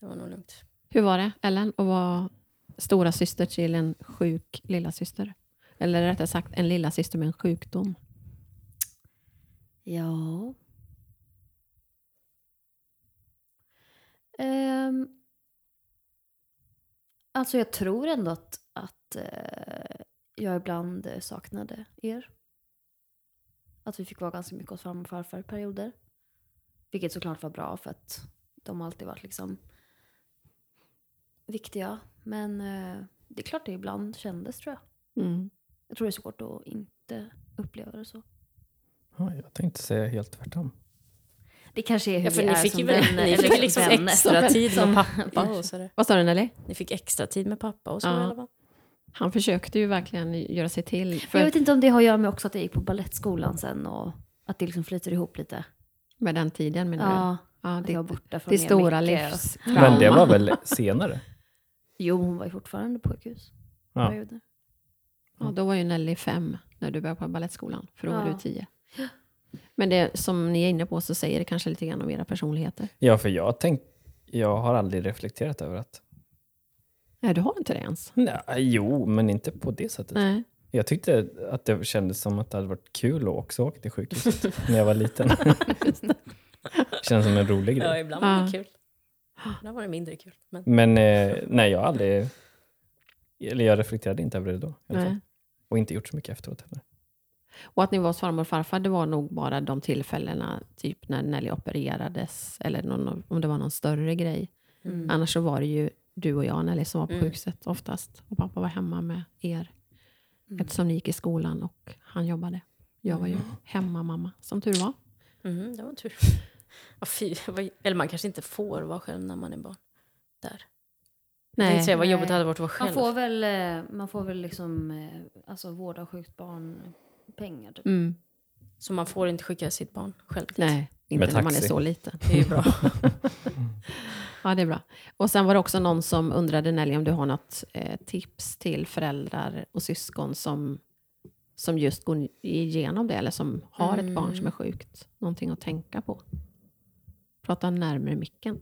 Det var nog lugnt.
Hur var det, Ellen, att vara stora syster till en sjuk lilla syster? Eller rättare sagt, en lilla syster med en sjukdom.
Ja. Ehm, alltså jag tror ändå att, att eh, jag ibland eh, saknade er. Att vi fick vara ganska mycket hos farmor och farfar i perioder. Vilket såklart var bra för att de har alltid varit liksom viktiga. Men eh, det är klart det ibland kändes tror jag.
Mm.
Jag tror det är svårt att inte uppleva det så.
Ja, jag tänkte säga helt tvärtom.
Det kanske är hur
Ja, för
vi
ni
är
fick
som
ju väl,
vänner,
ni
eller
fick liksom
vänner.
extra tid
Som-
med pappa och sådär.
Vad sa du, Nelly?
Ni fick extra tid med pappa och så.
Ja.
i alla fall.
Han försökte ju verkligen göra sig till. För
Jag vet inte om det har att göra med också att jag gick på ballettskolan sen och att det liksom flyter ihop lite.
Med den tiden menar du?
Ja,
Ja, Alltså,
att jag var
det,
borta från
det
er
stora
mycket.
livstrauma.
Men det var väl senare?
Jo, hon var ju fortfarande på sjukhus.
Ja.
perioder.
Ja, då var ju Nelly fem när du började på Balettskolan, för då var
Ja.
du tio. Men det som ni är inne på så säger det kanske lite grann om era personligheter.
Ja, för jag, tänk, jag har aldrig reflekterat över att...
Nej, du har inte det ens.
Nej, jo, men inte på det sättet.
Nej.
Jag tyckte att det kändes som att det hade varit kul att också åka till sjukhuset när jag var liten. känns som en rolig
Ja,
grej.
ibland var
Ja.
det kul. Ibland var det mindre kul. Men
Men eh, nej, jag har aldrig... Eller jag reflekterade inte över det då. i alla fall.
Nej.
Och inte gjort så mycket efteråt heller.
Och att ni var hos farmor och farfar, det var nog bara de tillfällena, typ när Nelly opererades, eller någon, om det var någon större grej.
Mm.
Annars så var det ju du och jag, Nelly, som var på
Mm.
sjukhuset oftast. Och pappa var hemma med er,
Mm.
eftersom ni gick i skolan och han jobbade. Jag var ju
Mm.
hemmamamma, som tur var.
mhm, det var tur. Ja, fy, vad- eller man kanske inte får vara själv när man är barn. Där. Jag tänkte säga vad
Nej.
jobbigt det hade varit att vara själv.
Man får väl, eh, man får väl liksom, eh, alltså vårda sjukt barn pengar typ.
Mm.
Så man får inte skicka sitt barn själv dit.
Nej, inte
Med
när man är
taxi.
så liten.
Det är ju bra.
Ja, det är bra. Och sen var det också någon som undrade, Nelly, om du har något eh, tips till föräldrar och syskon som, som just går igenom det, eller som har ett barn
Mm.
som är sjukt. Någonting att tänka på. Prata närmare micken.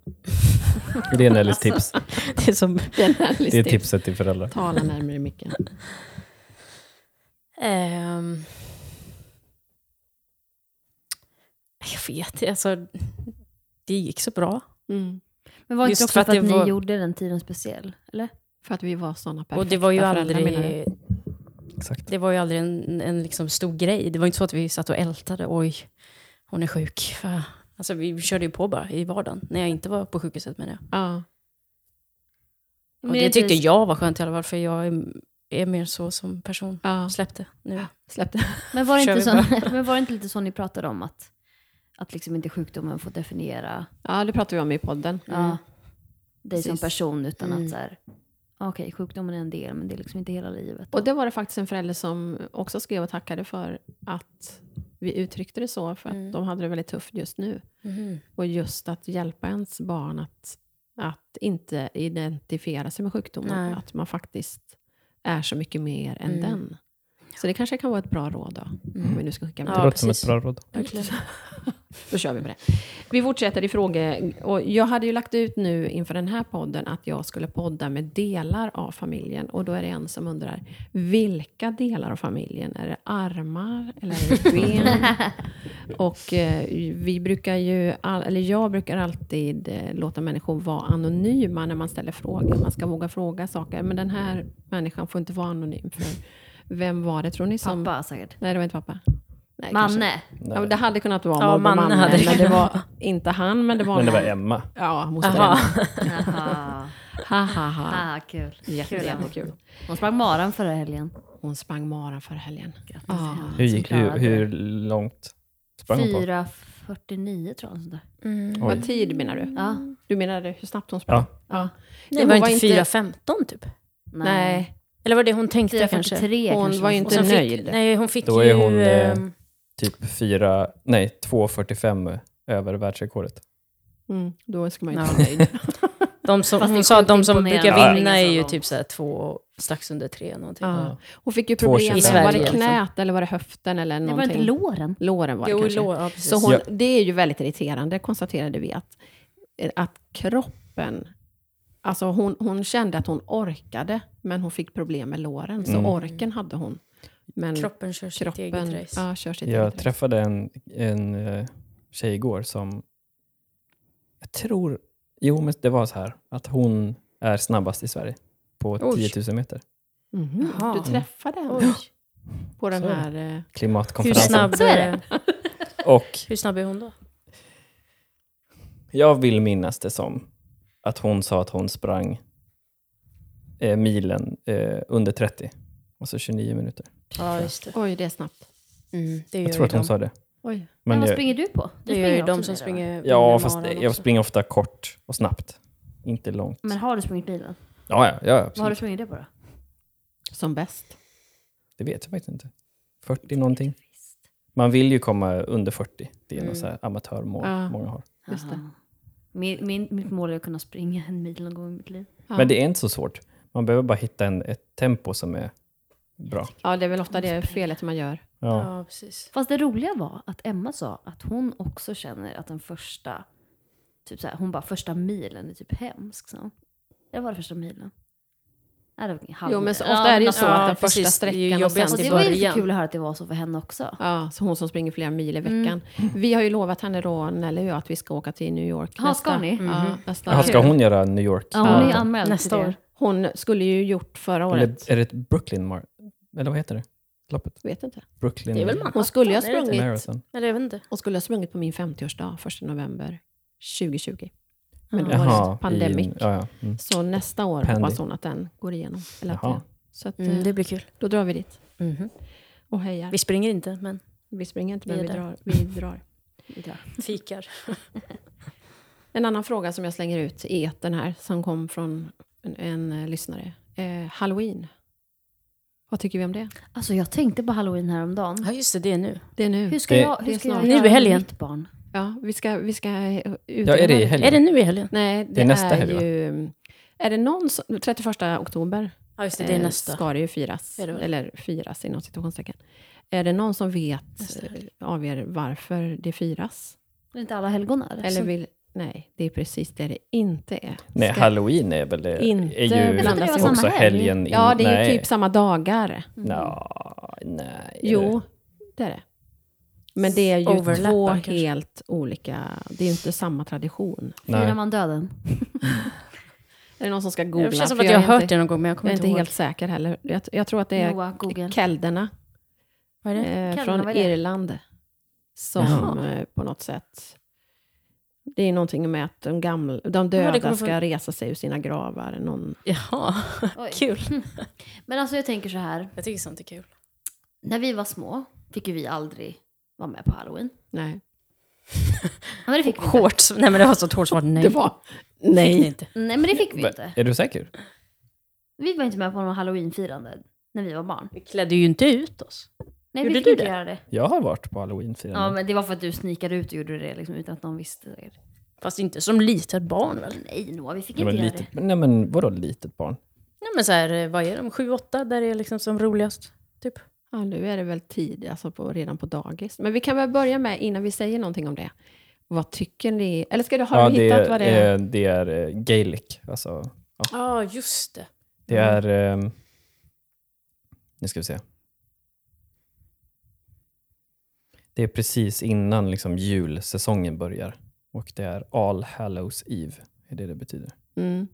Det är
Alltså,
Nellys tips.
det är som...
Det är,
Det är tipset till föräldrar.
Tala närmare micken.
Ehm. jag vet alltså, Det gick så bra.
Mm.
Men var det
Just
inte också
för
för
att
att,
det var-
ni gjorde den tiden speciell? Eller?
För att vi var såna perfekta
Och det var ju
föräldrar, menar du?
aldrig,
Exakt.
det var ju aldrig en, en liksom stor grej. Det var inte så att vi satt och ältade. Oj, hon är sjuk. För, alltså, vi körde ju på bara i vardagen. När jag inte var på sjukhuset menar jag.
Ja.
Och det tyckte jag var skönt i alla fall. För jag är, är mer så som person.
ja.
Släppte nu.
Släpp det.
Men var, det
Kör
inte
vi
så, men var det inte lite så ni pratade om att, att liksom inte sjukdomen får definiera
Ja, det pratade vi om i podden.
ja, dig som
typ. Mm. Precis.
person utan
Mm.
att så här, okej, sjukdomen är en del men det är liksom inte hela livet.
Och det var det faktiskt en förälder som också skrev och tackade för att vi uttryckte det så, för att
Mm.
de hade det väldigt tufft just nu. Och just att hjälpa ens barn att, att inte identifiera sig med sjukdomen.
Nej.
Att man faktiskt är så mycket mer än
Mm.
den. Så det kanske kan vara ett bra råd då. Om vi nu ska skicka med
Ja,
Det låter som ett
precis.
bra råd.
Verkligen.
Då kör vi med det. Vi fortsätter i fråge... Och jag hade ju lagt ut nu inför den här podden att jag skulle podda med delar av familjen. Och då är det en som undrar, vilka delar av familjen? Är det armar eller är det ben? Och eh, vi brukar ju, all, eller jag brukar alltid eh, låta människor vara anonyma när man ställer frågor. Man ska våga fråga saker. Men den här människan får inte vara anonym. För vem var det tror ni som...
Pappa säkert.
Nej, det var inte pappa. Nej, kanske-
Manne.
Ja, men det hade kunnat vara
Ja,
morbror
Manne
Manne,
hade
men det
kunnat
var inte han, men det var
Men det var
någon.
Emma.
Ja, moster
Jaha.
Emma.
Jaha.
Ha, ha, ha.
Ah, kul.
Jätte,
Kul, Emma.
jättekul.
Hon sprang maran förra helgen.
Hon sprang maran förra helgen. Ja.
Hur, gick, hur,
klarade
hur långt sprang hon på?
4.49 tror jag. Sånt där.
Mm.
Vad tid menar du?
Ja.
Du menade hur snabbt hon sprang?
Ja.
Ja.
Det
hon
var inte 4.15 typ?
Nej.
Nej,
Eller var det hon tänkte kanske?
4.43
Hon
kanske.
var ju
Och
inte
sen
nöjd.
Fick, nej, hon fick
Då är
ju...
hon, eh,
ehm,
Typ 4, nej 2.45 över världsrekordet.
Mm, då ska man ju
Ja.
inte vara nöjd.
de som,
Fast det är
hon sa att de
sjukt
som
imponerande.
brukar vinna
Ja.
är ju typ så här två, strax under tre någonting.
Ja. Hon fick ju
Två
problem.
tjugofem.
Var
I
det
Sverige,
knät eller var det höften eller
Det var
någonting?
inte låren.
låren var det
Jo,
kanske.
lå, ja, precis.
Så hon,
Ja.
det är ju väldigt irriterande, konstaterade vi, att, eh, att kroppen... Alltså hon, hon kände att hon orkade, men hon fick problem med låren, så
Mm.
orken hade hon. Men
Kroppen kör sitt
kroppen
eget race.
ja, kör sitt
Jag
eget race.
träffade en, en eh, tjej igår som, jag tror, jo men det var så här, att hon är snabbast i Sverige på
Oj.
10 000 meter.
Mhm.
Jaha.
Du träffade henne på den
Så är det.
här... eh,
Hur,
Klimatkonferensen.
snabb,
Så är det.
Och
hur snabb är hon då?
jag vill minnas det som att hon sa att hon sprang eh, milen eh, under 30, alltså 29 minuter.
Ja, just det.
Oj, det är snabbt.
det gör
Jag tror
ju
att hon
de.
sa det.
Oj.
Men vad
jag,
springer du på? Du
Det gör ju
springer
de
också
som
med det, va?
springer
ja,
med
fast
maran
jag
också.
springer ofta kort och snabbt. Inte långt.
Men har du sprungit bilen?
Ja, ja, ja
Vad har du
absolut.
sprungit det på då?
Som bäst.
Det vet jag faktiskt inte. 40 någonting. Man vill ju komma under 40. Det är
Mm.
något så här amatörmål
Ja.
många har.
Just det.
Jaha. Min, min, mitt mål är att kunna springa en mil någon gång i mitt liv.
Ja.
Men det är inte så svårt. Man behöver bara hitta en, ett tempo som är bra.
ja, det är väl ofta det felet man gör.
Ja.
Ja, precis.
Fast det roliga var att Emma sa att hon också känner att den första, typ så här, hon bara första milen är typ hemsk. Så. Det var det första milen. Nej, det var ingen halv
Jo, men så,
mil.
ofta är det ju så
Ja,
att den
precis.
första
Det är ju
sträckan och sen
jobbigast
Och
i
det
till
var
början.
ju
början.
lite kul att höra att det var så för henne också.
Ja, så hon som springer flera mil i veckan. Vi har ju lovat henne då, Nelly och jag, att vi ska åka till New York
Ja, ska ni?
Ja, nästa
Jaha, ska hon göra New York?
Ja, hon är ju
Marathon?
anmäld
Nästa
till det.
år.
Hon skulle ju gjort förra året.
Eller är det ett Brooklyn Mar... Eller vad heter det? Loppet?
Vet inte.
Brooklyn
Det är väl Manhattan?
Hon skulle ju ha
är det inte?
sprungit,
Marathon.
Eller jag vet inte.
hon skulle ha sprungit på min 50-årsdag, 1 november 2020. Men det var
Jaha,
ju pandemic.
i- Ja, ja. Mm.
Så nästa år
Pandy.
hoppas hon att den går igenom. Eller att
Jaha.
det, så att,
Mm, Mhm.
eh,
det blir kul.
då drar vi dit och hejar.
Vi
Vi,
springer inte, men
springer inte, men
vi
vi
är där.
drar, vi drar.
fikar.
En annan fråga som jag slänger ut i etern här, som kom från en, en eh, lyssnare. Eh, Halloween. Vad tycker vi om det?
Alltså jag tänkte på halloween häromdagen.
Ja, just det. Det är nu.
Mm.
Det är nu.
Hur ska
Det-
jag,
det
hur
är
ska jag
snart.
Nu i
göra med
helgen.
mitt barn?
Ja, vi ska, vi ska eh, ut.
ja, är det i helgen?
Är det nu i helgen?
Nej, det, är,
nästa helg, va?
ju... Är det någon som, 31 oktober
Ja, just det. Det är
eh,
nästa.
ska det ju firas.
Är det väl?
eller firas inom situationstecken. Är det någon som vet eh, av er varför det firas?
Det är inte alla helgonar.
Eller vill... Nej, det är precis det det inte är.
Nej,
Ska-
halloween är väl det,
Inte
är ju
blandas ihop.
också
Samma helg.
helgen in-
Ja, det är ju
nej.
typ samma dagar.
Mm.
Nja, nej.
Jo, det är det. Men det är ju
Overlappar
två
kanske.
helt olika... Det är ju inte samma tradition.
Firar
Nej.
man döden?
Är det någon som ska googla?
Det känns som
För
att jag har
är
hört
inte,
det någon gång, men jag
Jag
kommer
är
inte
inte
ihåg.
helt säker heller. Jag, jag tror att det är
Noah, Google.
kelderna.
Vad är det?
eh,
Kallarna,
från
vad är det?
Irland. Som
Jaha.
eh, på något sätt... Det är någonting med att de, gamla, de
det
döda
kommer
ska
från-
resa sig ur sina gravar. Någon,
Jaha,
Oj.
kul.
Men alltså jag tänker så här.
Jag tycker sånt är kul.
När vi var små fick ju vi aldrig vara med på halloween.
nej.
Ja, Men det fick vi inte.
Hårt. sv- Nej, men det var så ett hårt svar. Nej.
Det var... Nej.
inte.
Nej men det fick vi
Va-
inte.
Är du säker?
Vi var inte med på någon halloweenfirande när vi var barn.
Vi klädde ju inte ut oss.
Nej,
Gjorde
vi fick
du
inte
det?
göra det.
Jag har varit på
Ja,
halloweenfirande.
men det var för att du snikade ut och gjorde det liksom, utan att någon visste. Det.
Fast inte som litet barn väl?
Nej, Noah, vi fick
Ja, men,
inte göra
litet, nej, men vadå litet barn?
Nej men så här, eh, vad är de? Sju, åtta där det är liksom som roligast. Typ.
Ja, nu är det väl tid, alltså på, redan på dagis. Men vi kan väl börja med, innan vi säger någonting om det. Vad tycker ni? Eller ska du, har
ja,
du hittat vad det är?
eh, Det är eh, gaelic. Alltså,
Ja, ah, just det.
det
Mm.
är... ehm, nu ska vi se. Det är precis innan liksom, julsäsongen börjar. Och det är All Hallows Eve, är det det betyder.
Mm.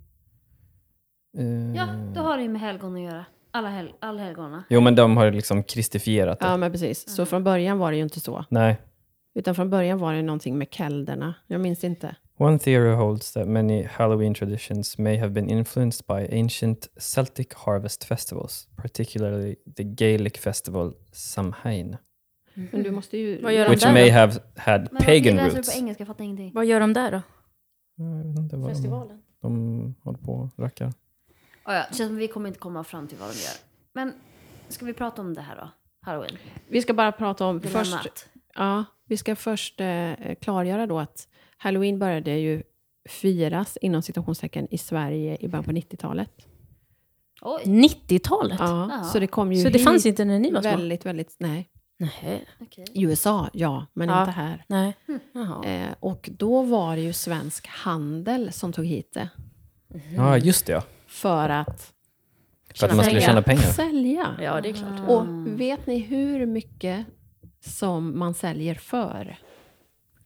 det.
Eh,
Ja, då har det ju med helgon att göra. Alla, hel- alla helgona.
Jo, men de har liksom kristifierat det.
Ja, men precis. Så från början var det ju inte så.
Nej.
Utan från början var det någonting med kelderna. Jag minns inte.
One theory holds that many Halloween traditions may have been influenced by ancient Celtic harvest festivals, particularly the Gaelic festival Samhain,
Men du måste ju...
Vad gör de
which
där
may
då?
have had
Men
pagan
varför läser du
roots.
på engelska? Jag fattar ingenting.
Vad gör de där då?
Jag vet inte
Mm.
vad de,
Festivalen?
de håller på och rackar.
Oh, ja, det känns som vi kommer inte komma fram till vad de gör. Men ska vi prata om det här då? Halloween?
Vi ska bara prata om...
Först...
Först, ja, vi ska först eh, klargöra då att halloween började ju firas inom citationstecken i Sverige i början på 90-talet.
Oj,
90-talet?
Ja,
Ja.
Så det kom ju
Så det
hit
fanns inte när ni var små?
väldigt, väldigt... Nej.
Nej.
okej.
I USA, ja, men
Ja.
inte här.
Nej. Jaha.
Eh, och då var det ju svensk handel som tog hit det.
Ja, ah, just det ja.
För att
För att man skulle tjäna pengar.
sälja.
Mm. Ja, det är klart.
Och vet ni hur mycket som man säljer för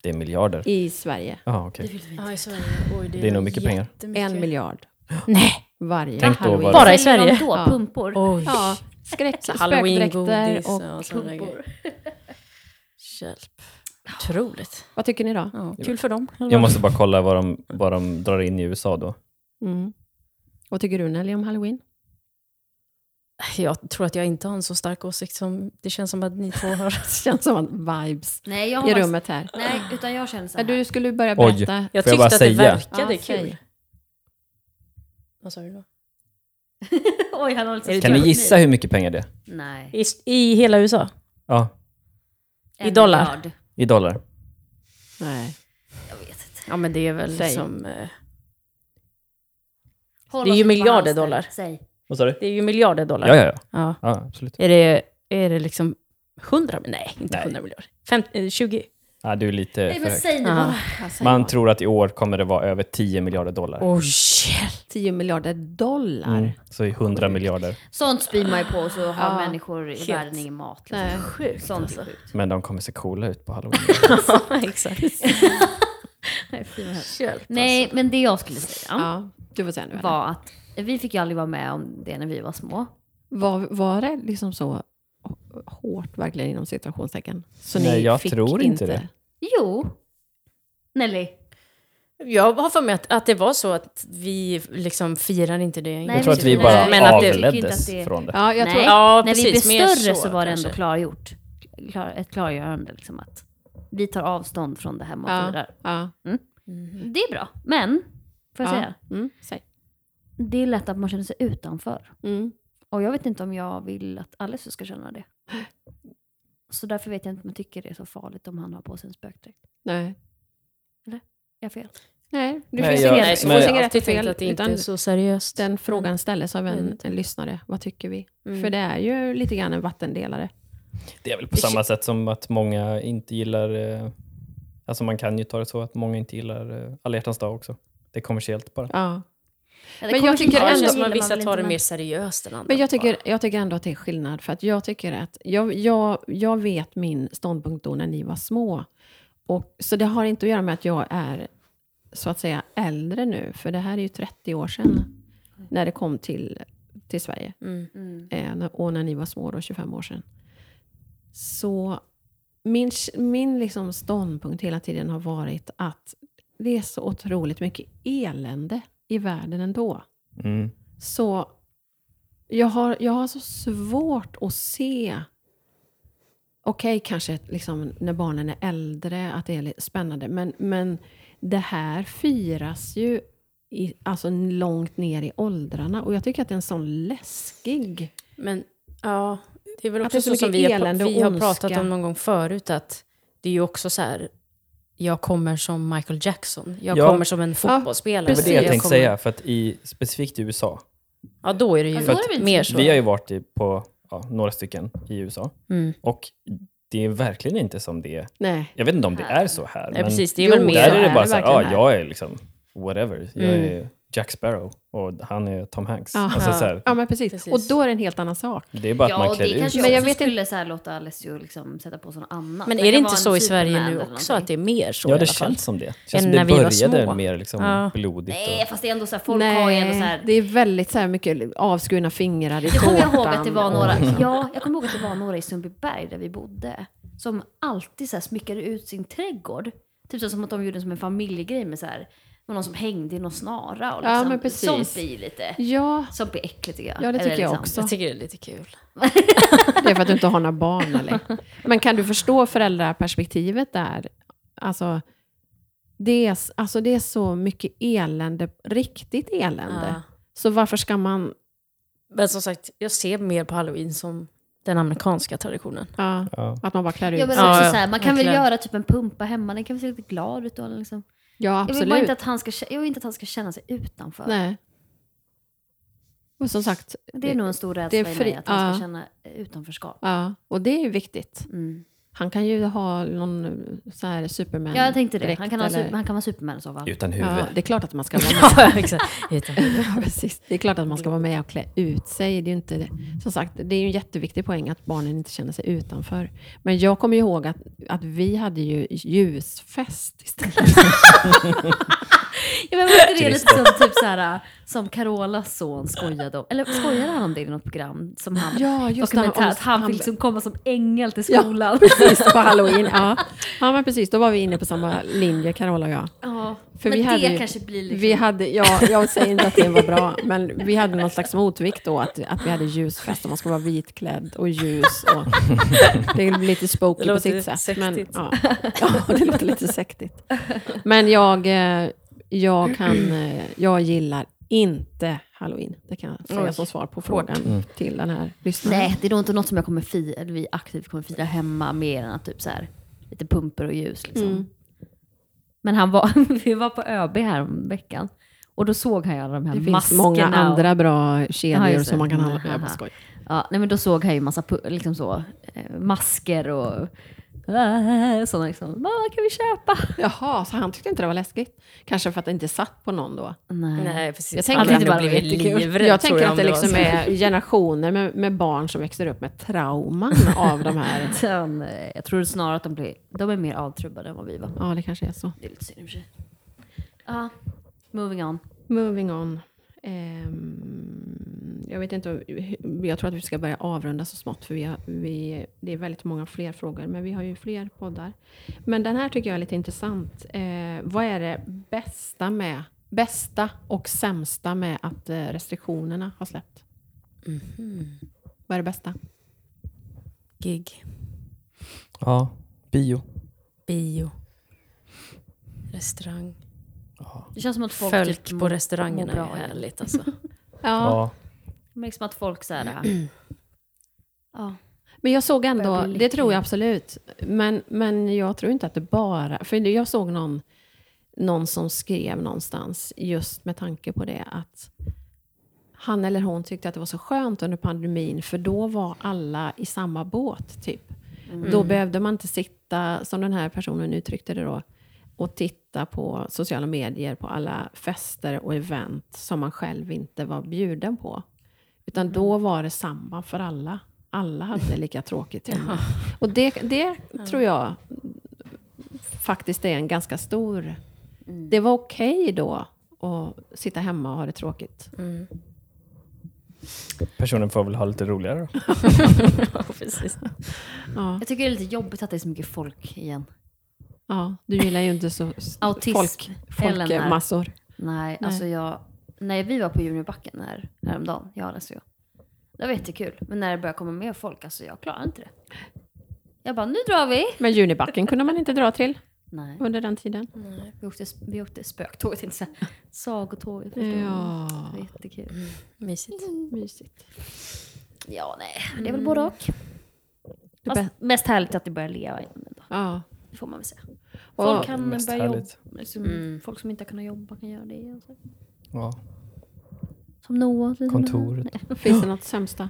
Det är miljarder.
i Sverige?
Ja, okej.
Ja, i Sverige. Oj,
Det är nog mycket pengar.
jättemycket.
En miljard
Nej!
varje
Tänk då
halloween.
vad-
Bara i
Säljer de
Sverige?
Då,
Ja.
Pumpor?
Oj.
Ja, skräck, spökdräkter
Halloween-godis
och...
och, sådana grejer. Hjälp. Otroligt.
Vad tycker ni då?
Ja, kul för dem.
Jag måste bara kolla vad de, vad de drar in i USA då.
Mm. Vad tycker du Nelly om halloween?
Jag tror att jag inte har en så stark åsikt som det känns som att ni två har.
Det känns som att vibes
Nej, jag har
i
faktiskt-
rummet här.
Nej, utan jag känner så
Ja,
här.
Du skulle börja
Oj.
berätta.
Jag
Får jag
tyckte
bara
att det
säga?
verkade
Ja, säg.
kul. Vad sa du då?
Oj, han håller sig
Är det
Kan ni gissa hur mycket pengar det är?
Nej.
I, I hela USA?
Ja,
I dollar?
miljard.
i dollar.
Nej.
Jag vet inte.
Ja, men det är väl
Säg.
som... eh,
Håll
Det är
oss
ju
inte på
miljarder
halster.
dollar.
Säg.
Vad sa du?
Det är ju miljarder dollar.
Ja, ja, ja.
Ja.
ja absolut.
Är, det, är det liksom 100? Nej, inte
Nej.
100 miljarder. Fem, eh, 20?
Ja, du är lite
Nej,
för
men
hög.
säg nu
Ja.
bara.
Ja, säg
Man
bara.
tror att i år kommer det vara över 10 miljarder dollar.
Oj, hjälp.
10 miljarder dollar.
Mm, så i 100 miljarder.
Sånt spyr man ju på så har
Ja,
människor i
helt.
världen ingen mat.
Nej.
Liksom. Sjukt Sånt
alltså.
är sjukt.
Men de kommer se coola ut på halloween.
Ja, exakt. Hjälp,
Nej, men det jag skulle säga
Ja, du får säga nu. Var,
var att vi fick ju aldrig vara med om det när vi var små.
var, var det liksom så h- hårt verkligen inom situationstecken? Så
Nej,
ni
jag
fick
tror inte det.
Jo. Nelly.
Jag har för mig att, att det var så att vi liksom firar inte det.
Nej,
jag tror att vi
Nej,
bara
men att det-
jag tycker inte
avleddes
att det-
från det.
Ja, jag
Nej,
tror,
Ja,
när
precis,
vi
mer
blev större så, Alltså,
så,
var det ändå
kanske.
klargjort. Klar, ett klargörande liksom att vi tar avstånd från det här med att
ja,
firar.
ja,
Det är bra, men får jag
ja.
säga?
Mm, säg.
Det är lätt att man känner sig utanför.
Mm.
Och jag vet inte om jag vill att Alice ska känna det. Så därför vet jag inte om jag tycker det är så farligt om han har på sig en spökdräkt.
Nej.
Jag har fel.
Nej, det
Nej,
finns
jag-
inget,
nej,
det
men-
finns inget rätt och
alltid tänkt
fel.
att det inte är
Utan
så seriöst.
den frågan ställs av en, en lyssnare. Vad tycker vi?
Mm.
För det är ju lite grann en vattendelare.
Det är väl på samma sätt som att många inte gillar... eh, Alltså man kan ju ta det så att många inte gillar eh, alla hjärtans dag också. Det är kommersiellt bara.
Ja.
Ja, det
Men jag
kommer
tycker
Ja,
tillbaka.
det
ändå-
känns
Gillar
som att vissa
väl
tar
inte,
det
men-
mer seriöst än andra.
Men jag tycker,
bara.
jag tycker ändå att det är skillnad. För att jag tycker att jag, jag, jag vet min ståndpunkt då när ni var små. Och, så det har inte att göra med att jag är så att säga äldre nu. För det här är ju 30 år sedan när det kom till, till Sverige.
Mm.
Mm.
Eh, när- och när ni var små då, 25 år sedan. Så min, min liksom ståndpunkt hela tiden har varit att det är så otroligt mycket elände i världen ändå.
Mm.
Så jag har, jag har så svårt att se... Okej, kanske liksom när barnen är äldre, att det är lite spännande. Men, men det här firas ju i, alltså långt ner i åldrarna. Och jag tycker att det är en sån läskig...
Men ja, det är väl
Att
också
det är så
så som vi
mycket
har, pra-
elände och
vi har
ondska.
pratat om någon gång förut att det är ju också så här, jag kommer som Michael Jackson. Jag
Ja.
kommer som en fotbollsspelare.
Det var det jag tänkte
kommer-
säga, för att i, specifikt i USA,
Ja, då är det ju
Ja, då är det väl
mer
så.
så.
vi har ju varit i, på ja, några stycken i USA,
Mm.
och det är verkligen inte som det är.
Nej.
Jag vet inte om det
Här.
är så här,
Nej,
men
precis. Det är väl
Jo,
mer
Mm. där är det
är
bara
det
så här, ja,
verkligen
jag är liksom whatever. Jag
Mm.
är Jack Sparrow och han är Tom Hanks.
Ja.
Alltså, så här,
Ja, men precis.
Precis.
Och då är det en helt annan sak.
det är bara att
ja,
man
och det
klär ut
kanske
sig.
Men
men
jag
jag
vet
skulle så här låta Alessio liksom sätta på sig något annat.
Men
Det
är
kan
det inte
vara
så
en
i Sverige
Superman
nu
eller
också, att det är mer så
Ja,
i alla
det
fall?
känns som det. Det känns
Än
som det
när vi var
började
små.
mer liksom
Ja.
blodigt.
Nej,
Och,
fast det är ändå så här, folk har ju ändå så här...
det är väldigt så här mycket avskurna fingrar i
Jag kommer ihåg
tårtan
att det var
och-
några, ja, jag kommer ihåg att det var några i Sundbyberg där vi bodde. Som alltid så här smyckade ut sin trädgård. Typ så som att de gjorde som en familjegrej med så här, med någon som hängde i någon snara. Och
Ja,
liksom,
men precis.
Sånt blir lite,
Ja,
sånt blir äckligt tycker jag.
ja, det
Eller
tycker jag
liksom-
också.
Jag tycker det är lite kul.
Det är för att du inte har några barn eller? Men kan du förstå föräldraperspektivet där? Alltså, det är, s- alltså det är så mycket elände, riktigt elände.
Ja.
Så varför ska man...
Men som sagt, jag ser mer på halloween som den amerikanska traditionen.
Ja,
ja.
att man bara klär ut
Ja, men
sig.
Ja,
också
ja,
så här, man kan väl
verkligen.
göra typ en pumpa hemma, den kan väl se lite glad ut då. eller Liksom.
Ja,
Jag vill bara
absolut.
inte att han ska, kä- jag vill inte att han ska känna sig utanför.
Nej. Och som sagt,
Det är nog en stor rädsla
det är
i
fri-
mig, att han
ja.
ska känna utanförskap.
ja, och det är ju viktigt.
Mm.
Han kan ju ha någon eh, så här superman
Ja, jag tänkte det. Han kan, ha,
direkt,
super- han kan vara Superman och så va?
Utan huvud.
Ja, det är klart att man ska vara med.
ja, exakt. Utan-
Ja, precis. Det är klart att man ska vara med och klä ut sig. Det är ju inte, som sagt, det är ju en jätteviktig poäng att barnen inte känner sig utanför. Men jag kommer ju ihåg att, att vi hade ju ljusfest istället.
Ja, men var inte det lite
Turister.
som, typ så här, som Carolas son skojade om? Eller skojade han om det i något program? Som han,
Ja,
dokumentär, att han fick liksom komma som ängel till skolan. Ja.
Precis, på halloween. Ja. ja, men precis. Då var vi inne på samma linje, Carola och jag. För vi
men det
hade ju-
kanske blir lite...
Vi hade, ja, jag säger inte att det var bra, men vi hade någon slags motvikt då, att, att vi hade ljusfest och man skulle vara vitklädd och ljus. Och, det är lite spooky
Det
på
låter
sitt sätt. Men,
sektigt.
ja, ja, det låter lite sektigt. Men jag, eh, jag, kan, eh, jag gillar inte halloween. Det kan jag säga
Oj.
som svar på frågan till den här lyssnaren.
Nej, det är nog inte något som jag kommer fira, eller vi aktivt kommer fira hemma mer än att typ så här, lite pumper och ljus. Liksom.
Mm.
Men han var, vi var på ÖB här om veckan och då såg han ju alla de här
Det finns
maskerna.
många
och-
andra bra
Ja,
kedjor
just det.
som man kan handla.
Mm,
Jag bara
haha.
skojar.
Ja, nej men då såg han ju massa pu- liksom så, eh, masker och sådana liksom. Vad kan vi köpa?
Jaha, så han tyckte inte det var läskigt. Kanske för att det inte satt på någon då.
Nej.
Nej, precis.
Jag
Han
tänker,
hade
att,
nog blivit livrädd
jag
tror
tänker att
om
det
var
liksom
så.
är generationer med, med barn som växer upp med trauman av de här.
Sen, eh, jag tror snarare att de, blir, de är mer avtrubbade än vad vi var.
Ja, det kanske är så.
Det är lite synd i och för sig. Ja, moving on.
Moving on. Ehm, jag vet inte, hur- jag tror att vi ska börja avrunda så smått, för vi har, vi, det är väldigt många fler frågor, men vi har ju fler poddar. Men den här tycker jag är lite intressant. Eh, vad är det bästa med bästa och sämsta med att eh, restriktionerna har släppt? Vad är det bästa?
Mhm. Gig,
Ja, bio.
bio, restaurang.
Det känns som att folk
Folk
typ
på restaurangerna
mår bra
är
igen.
härligt alltså.
Ja.
Det märks som att folk så här... ja.
Men jag såg
Börjar
ändå,
bli
det
lycklig.
tror jag absolut. Men, men jag tror inte att det bara... För jag såg någon, någon som skrev någonstans just med tanke på det att han eller hon tyckte att det var så skönt under pandemin för då var alla i samma båt. typ.
Mm.
Då behövde man inte sitta, som den här personen uttryckte det då, och titta på sociala medier, på alla fester och event som man själv inte var bjuden på. Utan då var det samma för alla. Alla hade lika tråkigt hemma. Och det, det tror jag faktiskt är en ganska stor... Det var okej då att sitta hemma och ha det tråkigt.
Mm.
Personen får väl ha lite roligare då.
precis.
Ja,
Jag tycker det är lite jobbigt att det är så mycket folk igen.
ja, du gillar ju inte så
Autism,
folk,
Ellen här.
folkmassor.
Nej,
Nej.
alltså jag... När vi var på Junibacken här, häromdagen, jag och Alessio. Det var jättekul. Men när det började komma mer folk, alltså jag klarar inte det. Jag bara, nu drar vi!
Men Junibacken kunde man inte dra till.
Nej.
under den tiden?
Vi åkte, vi åkte spöktåget, inte så här. sagotåget. förstår du.
Ja. Mm.
Det var jättekul.
Mysigt.
Mysigt.
Ja, nej. Det är väl både och.
Mm. Det
Fast
bä-
mest härligt att det börjar leva igen. Då.
Ja.
Det får man väl säga.
Och-
Folk kan
Mest
börja jobba.
härligt.
Liksom,
Mm.
Folk som inte har kunnat jobba kan göra det igen. så.
Ja,
Som Noah. till exempel.
kontoret.
Finns det något sämsta?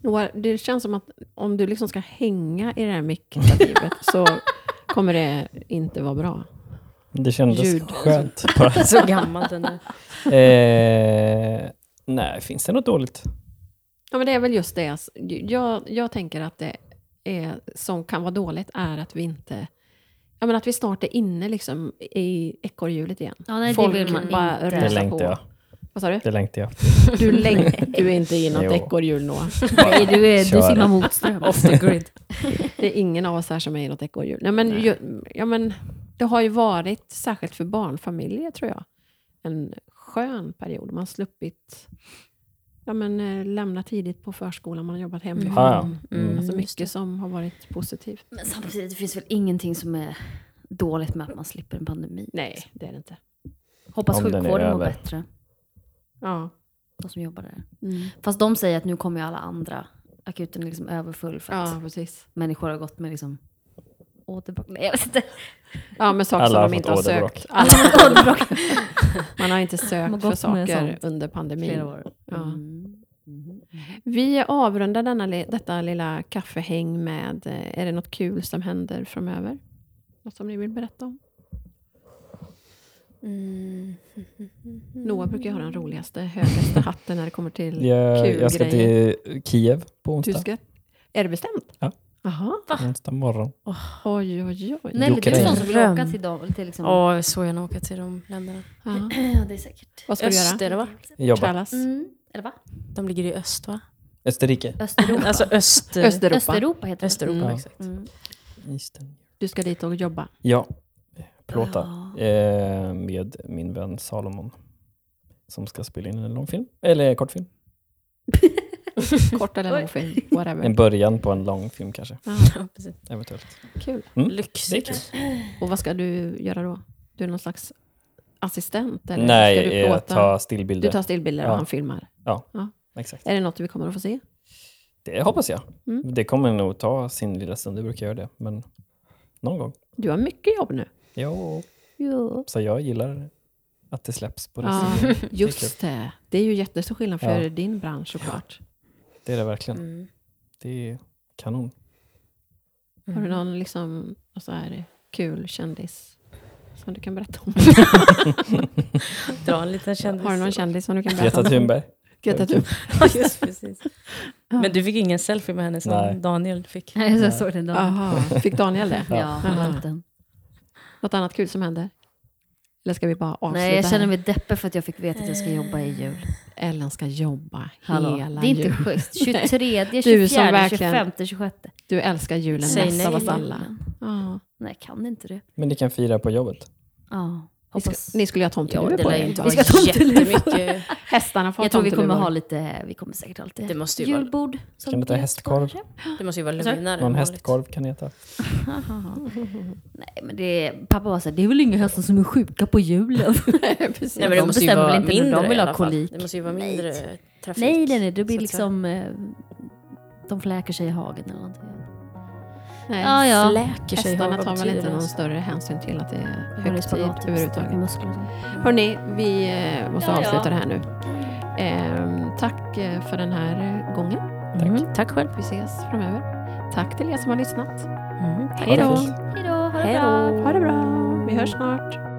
Noah, det känns som att om du liksom ska hänga i det här mickstativet så kommer det inte vara bra.
Mm.
Det kändes
Ljud.
skönt. Bara.
Så gammal den är.
Eh, nej, finns det något dåligt?
Ja, men det är väl just det. alltså. Jag, jag tänker att det är, som kan vara dåligt är att vi inte... Ja, men att vi snart är inne liksom i ekorrhjulet igen.
Ja, nej,
Folk
det vill man
bara
inte.
Det
Läsa
längtar
på.
jag.
Vad sa du?
Det längtar jag.
Du längtar du är inte i
Jo.
något ekorrhjul, Noah.
Nej, du, är,
Kör.
du simmar mot strömmen.
Off the grid.
Det är ingen av oss här som är i något ekorrhjul. Nej, men, ju, ja, men det har ju varit, särskilt för barnfamiljer tror jag, en skön period. Man har sluppit ja, men, eh, lämna tidigt på förskolan, man har jobbat hemifrån.
Ah, ja.
Mm.
Alltså mycket som har varit positivt.
Men samtidigt, det finns väl ingenting som är dåligt med att man slipper en pandemi.
Nej, det är det inte.
Hoppas
Om den är
sjukvården mår
över.
bättre.
Ja.
De som jobbar där.
Mm.
Fast de säger att nu kommer ju alla andra. Akuten är liksom överfull för att
ja, precis.
människor har gått med liksom återbakning. Nej, jag vet inte.
Ja, men saker
Alla har
som de inte
fått
har
åderbråck.
sökt. Alla har fått åderbråck.
Åderbråck.
Man har inte
har
sökt för
gått med
saker
sånt
under pandemin.
Flera år.
Ja.
Mm. Mhm.
Vi avrundar denna, li- detta lilla kaffehäng med, eh, är det något kul som händer framöver? Något som ni vill berätta om?
Mm.
Mm.
Noah brukar ju ha den roligaste, högaste hatten när det kommer till
Jag,
kul
jag ska
grejer.
till Kiev på
Du
onsdag.
ska, är det bestämt?
Ja.
Jaha.
Onsdag morgon.
Oj, oj, oj.
Nej, men du är
Ukraina.
sån som vill åka
Dröm.
till, dem, till liksom...
Ja, så jag gärna åka till de länderna.
Ja.
Ja, det är säkert.
Vad ska du göra?
Öster, va?
Jobba.
Kallas?
Mm. Eller va?
De ligger i öst, va?
Österrike.
Östeuropa.
Alltså öst...
Östeuropa.
Östeuropa heter det.
Östeuropa,
Mm.
exakt.
Mm.
Eastern.
Du ska dit och jobba.
Ja, plåta. Eh, med min vän Salomon. Som ska spela in en långfilm. Eller kortfilm.
Kort eller
Mm. Oj.
långfilm,
En
whatever.
början på en långfilm kanske.
Ja,
Ja, precis.
Eventuellt.
kul.
Det är kul.
Lyxigt.
Och vad ska du göra då? Du är någon slags assistent? Eller ska
Nej,
du
jag
plåta?
tar
Du
stillbilder.
tar stillbilder
Ja.
och han filmar.
Exakt.
Är det något vi kommer att få se?
Det hoppas jag.
Mm.
Det kommer nog ta sin lilla stund. Det brukar göra det. Men någon gång.
Du har mycket jobb nu.
Jo.
Jo.
Så jag gillar att det släpps på det
Ja,
sättet.
just det. Det är ju jättestor skillnad för
Ja.
din bransch såklart.
Det är det verkligen.
Mm.
Det är kanon.
Har du
Mm.
någon liksom, någon så här kul kändis som du kan berätta om?
Dra en liten kändis.
Har du någon kändis som du kan berätta
Greta
om?
Thunberg.
Greta Thunberg.
Ja, Just precis. Men du fick ingen selfie med henne som
Nej.
Daniel fick.
Nej, så jag såg den då.
Aha. Fick Daniel det?
Ja, han
Ja.
var liten.
Något annat kul som händer? Eller ska vi bara avsluta
Nej, jag känner
här?
mig deppig för att jag fick veta att jag ska jobba i jul.
Ellen ska jobba
Hallå.
hela
Det är inte
jul.
schysst. 23,
Du som
24,
verkligen-
25, 26.
Du älskar julen
Säg
mest
nej.
av oss alla. Ja.
Nej, jag kan inte det.
Men ni kan fira på jobbet.
Ja,
Ni, ska,
hoppas.
ni skulle ju ha
Ja,
tomteluvor
det
på
lär ju
er.
inte
Vi
vara
ska ha tomteluvor.
jättemycket.
Hästarna får ha
jag tror vi kommer
tomteluvor.
ha lite, vi kommer säkert ha
Det
lite
måste ju vara,
julbord. som
Kan du ta
det
hästkorv?
kanske?
det måste ju vara
Vad sa du?
lugnare.
Någon
än vanligt.
hästkorv kan ni äta.
Nej, men det, pappa var såhär, det är väl inga hästar som är sjuka på julen?
Precis.
Nej, men det
De
måste ju
bestämmer
vara
väl inte när
mindre
de vill
i
ha
alla fall.
kolik.
Det måste ju vara
Nej.
mindre trafik.
nej, nej, nej, det blir
Så att säga.
liksom, eh, de fläker sig i hagen eller någonting.
Nej.
Ja, ja.
Fläker sig i
Hästarna
havet
tar väl
tydligen.
inte någon större hänsyn till att det är
Har det
högtid
spagat i
överhuvudtaget.
typ muskler och sånt.
Hörni, vi eh, måste
Ja, ja.
avsluta det här nu. Ehm, tack eh, för den här eh, gången.
Mm, tack själv.
Vi ses framöver. Tack till er som har lyssnat.
Mm, tack.
Hej då.
Ha det fint.
Hej då, ha det
Hej
bra!
då.
Ha det bra. Vi hörs snart.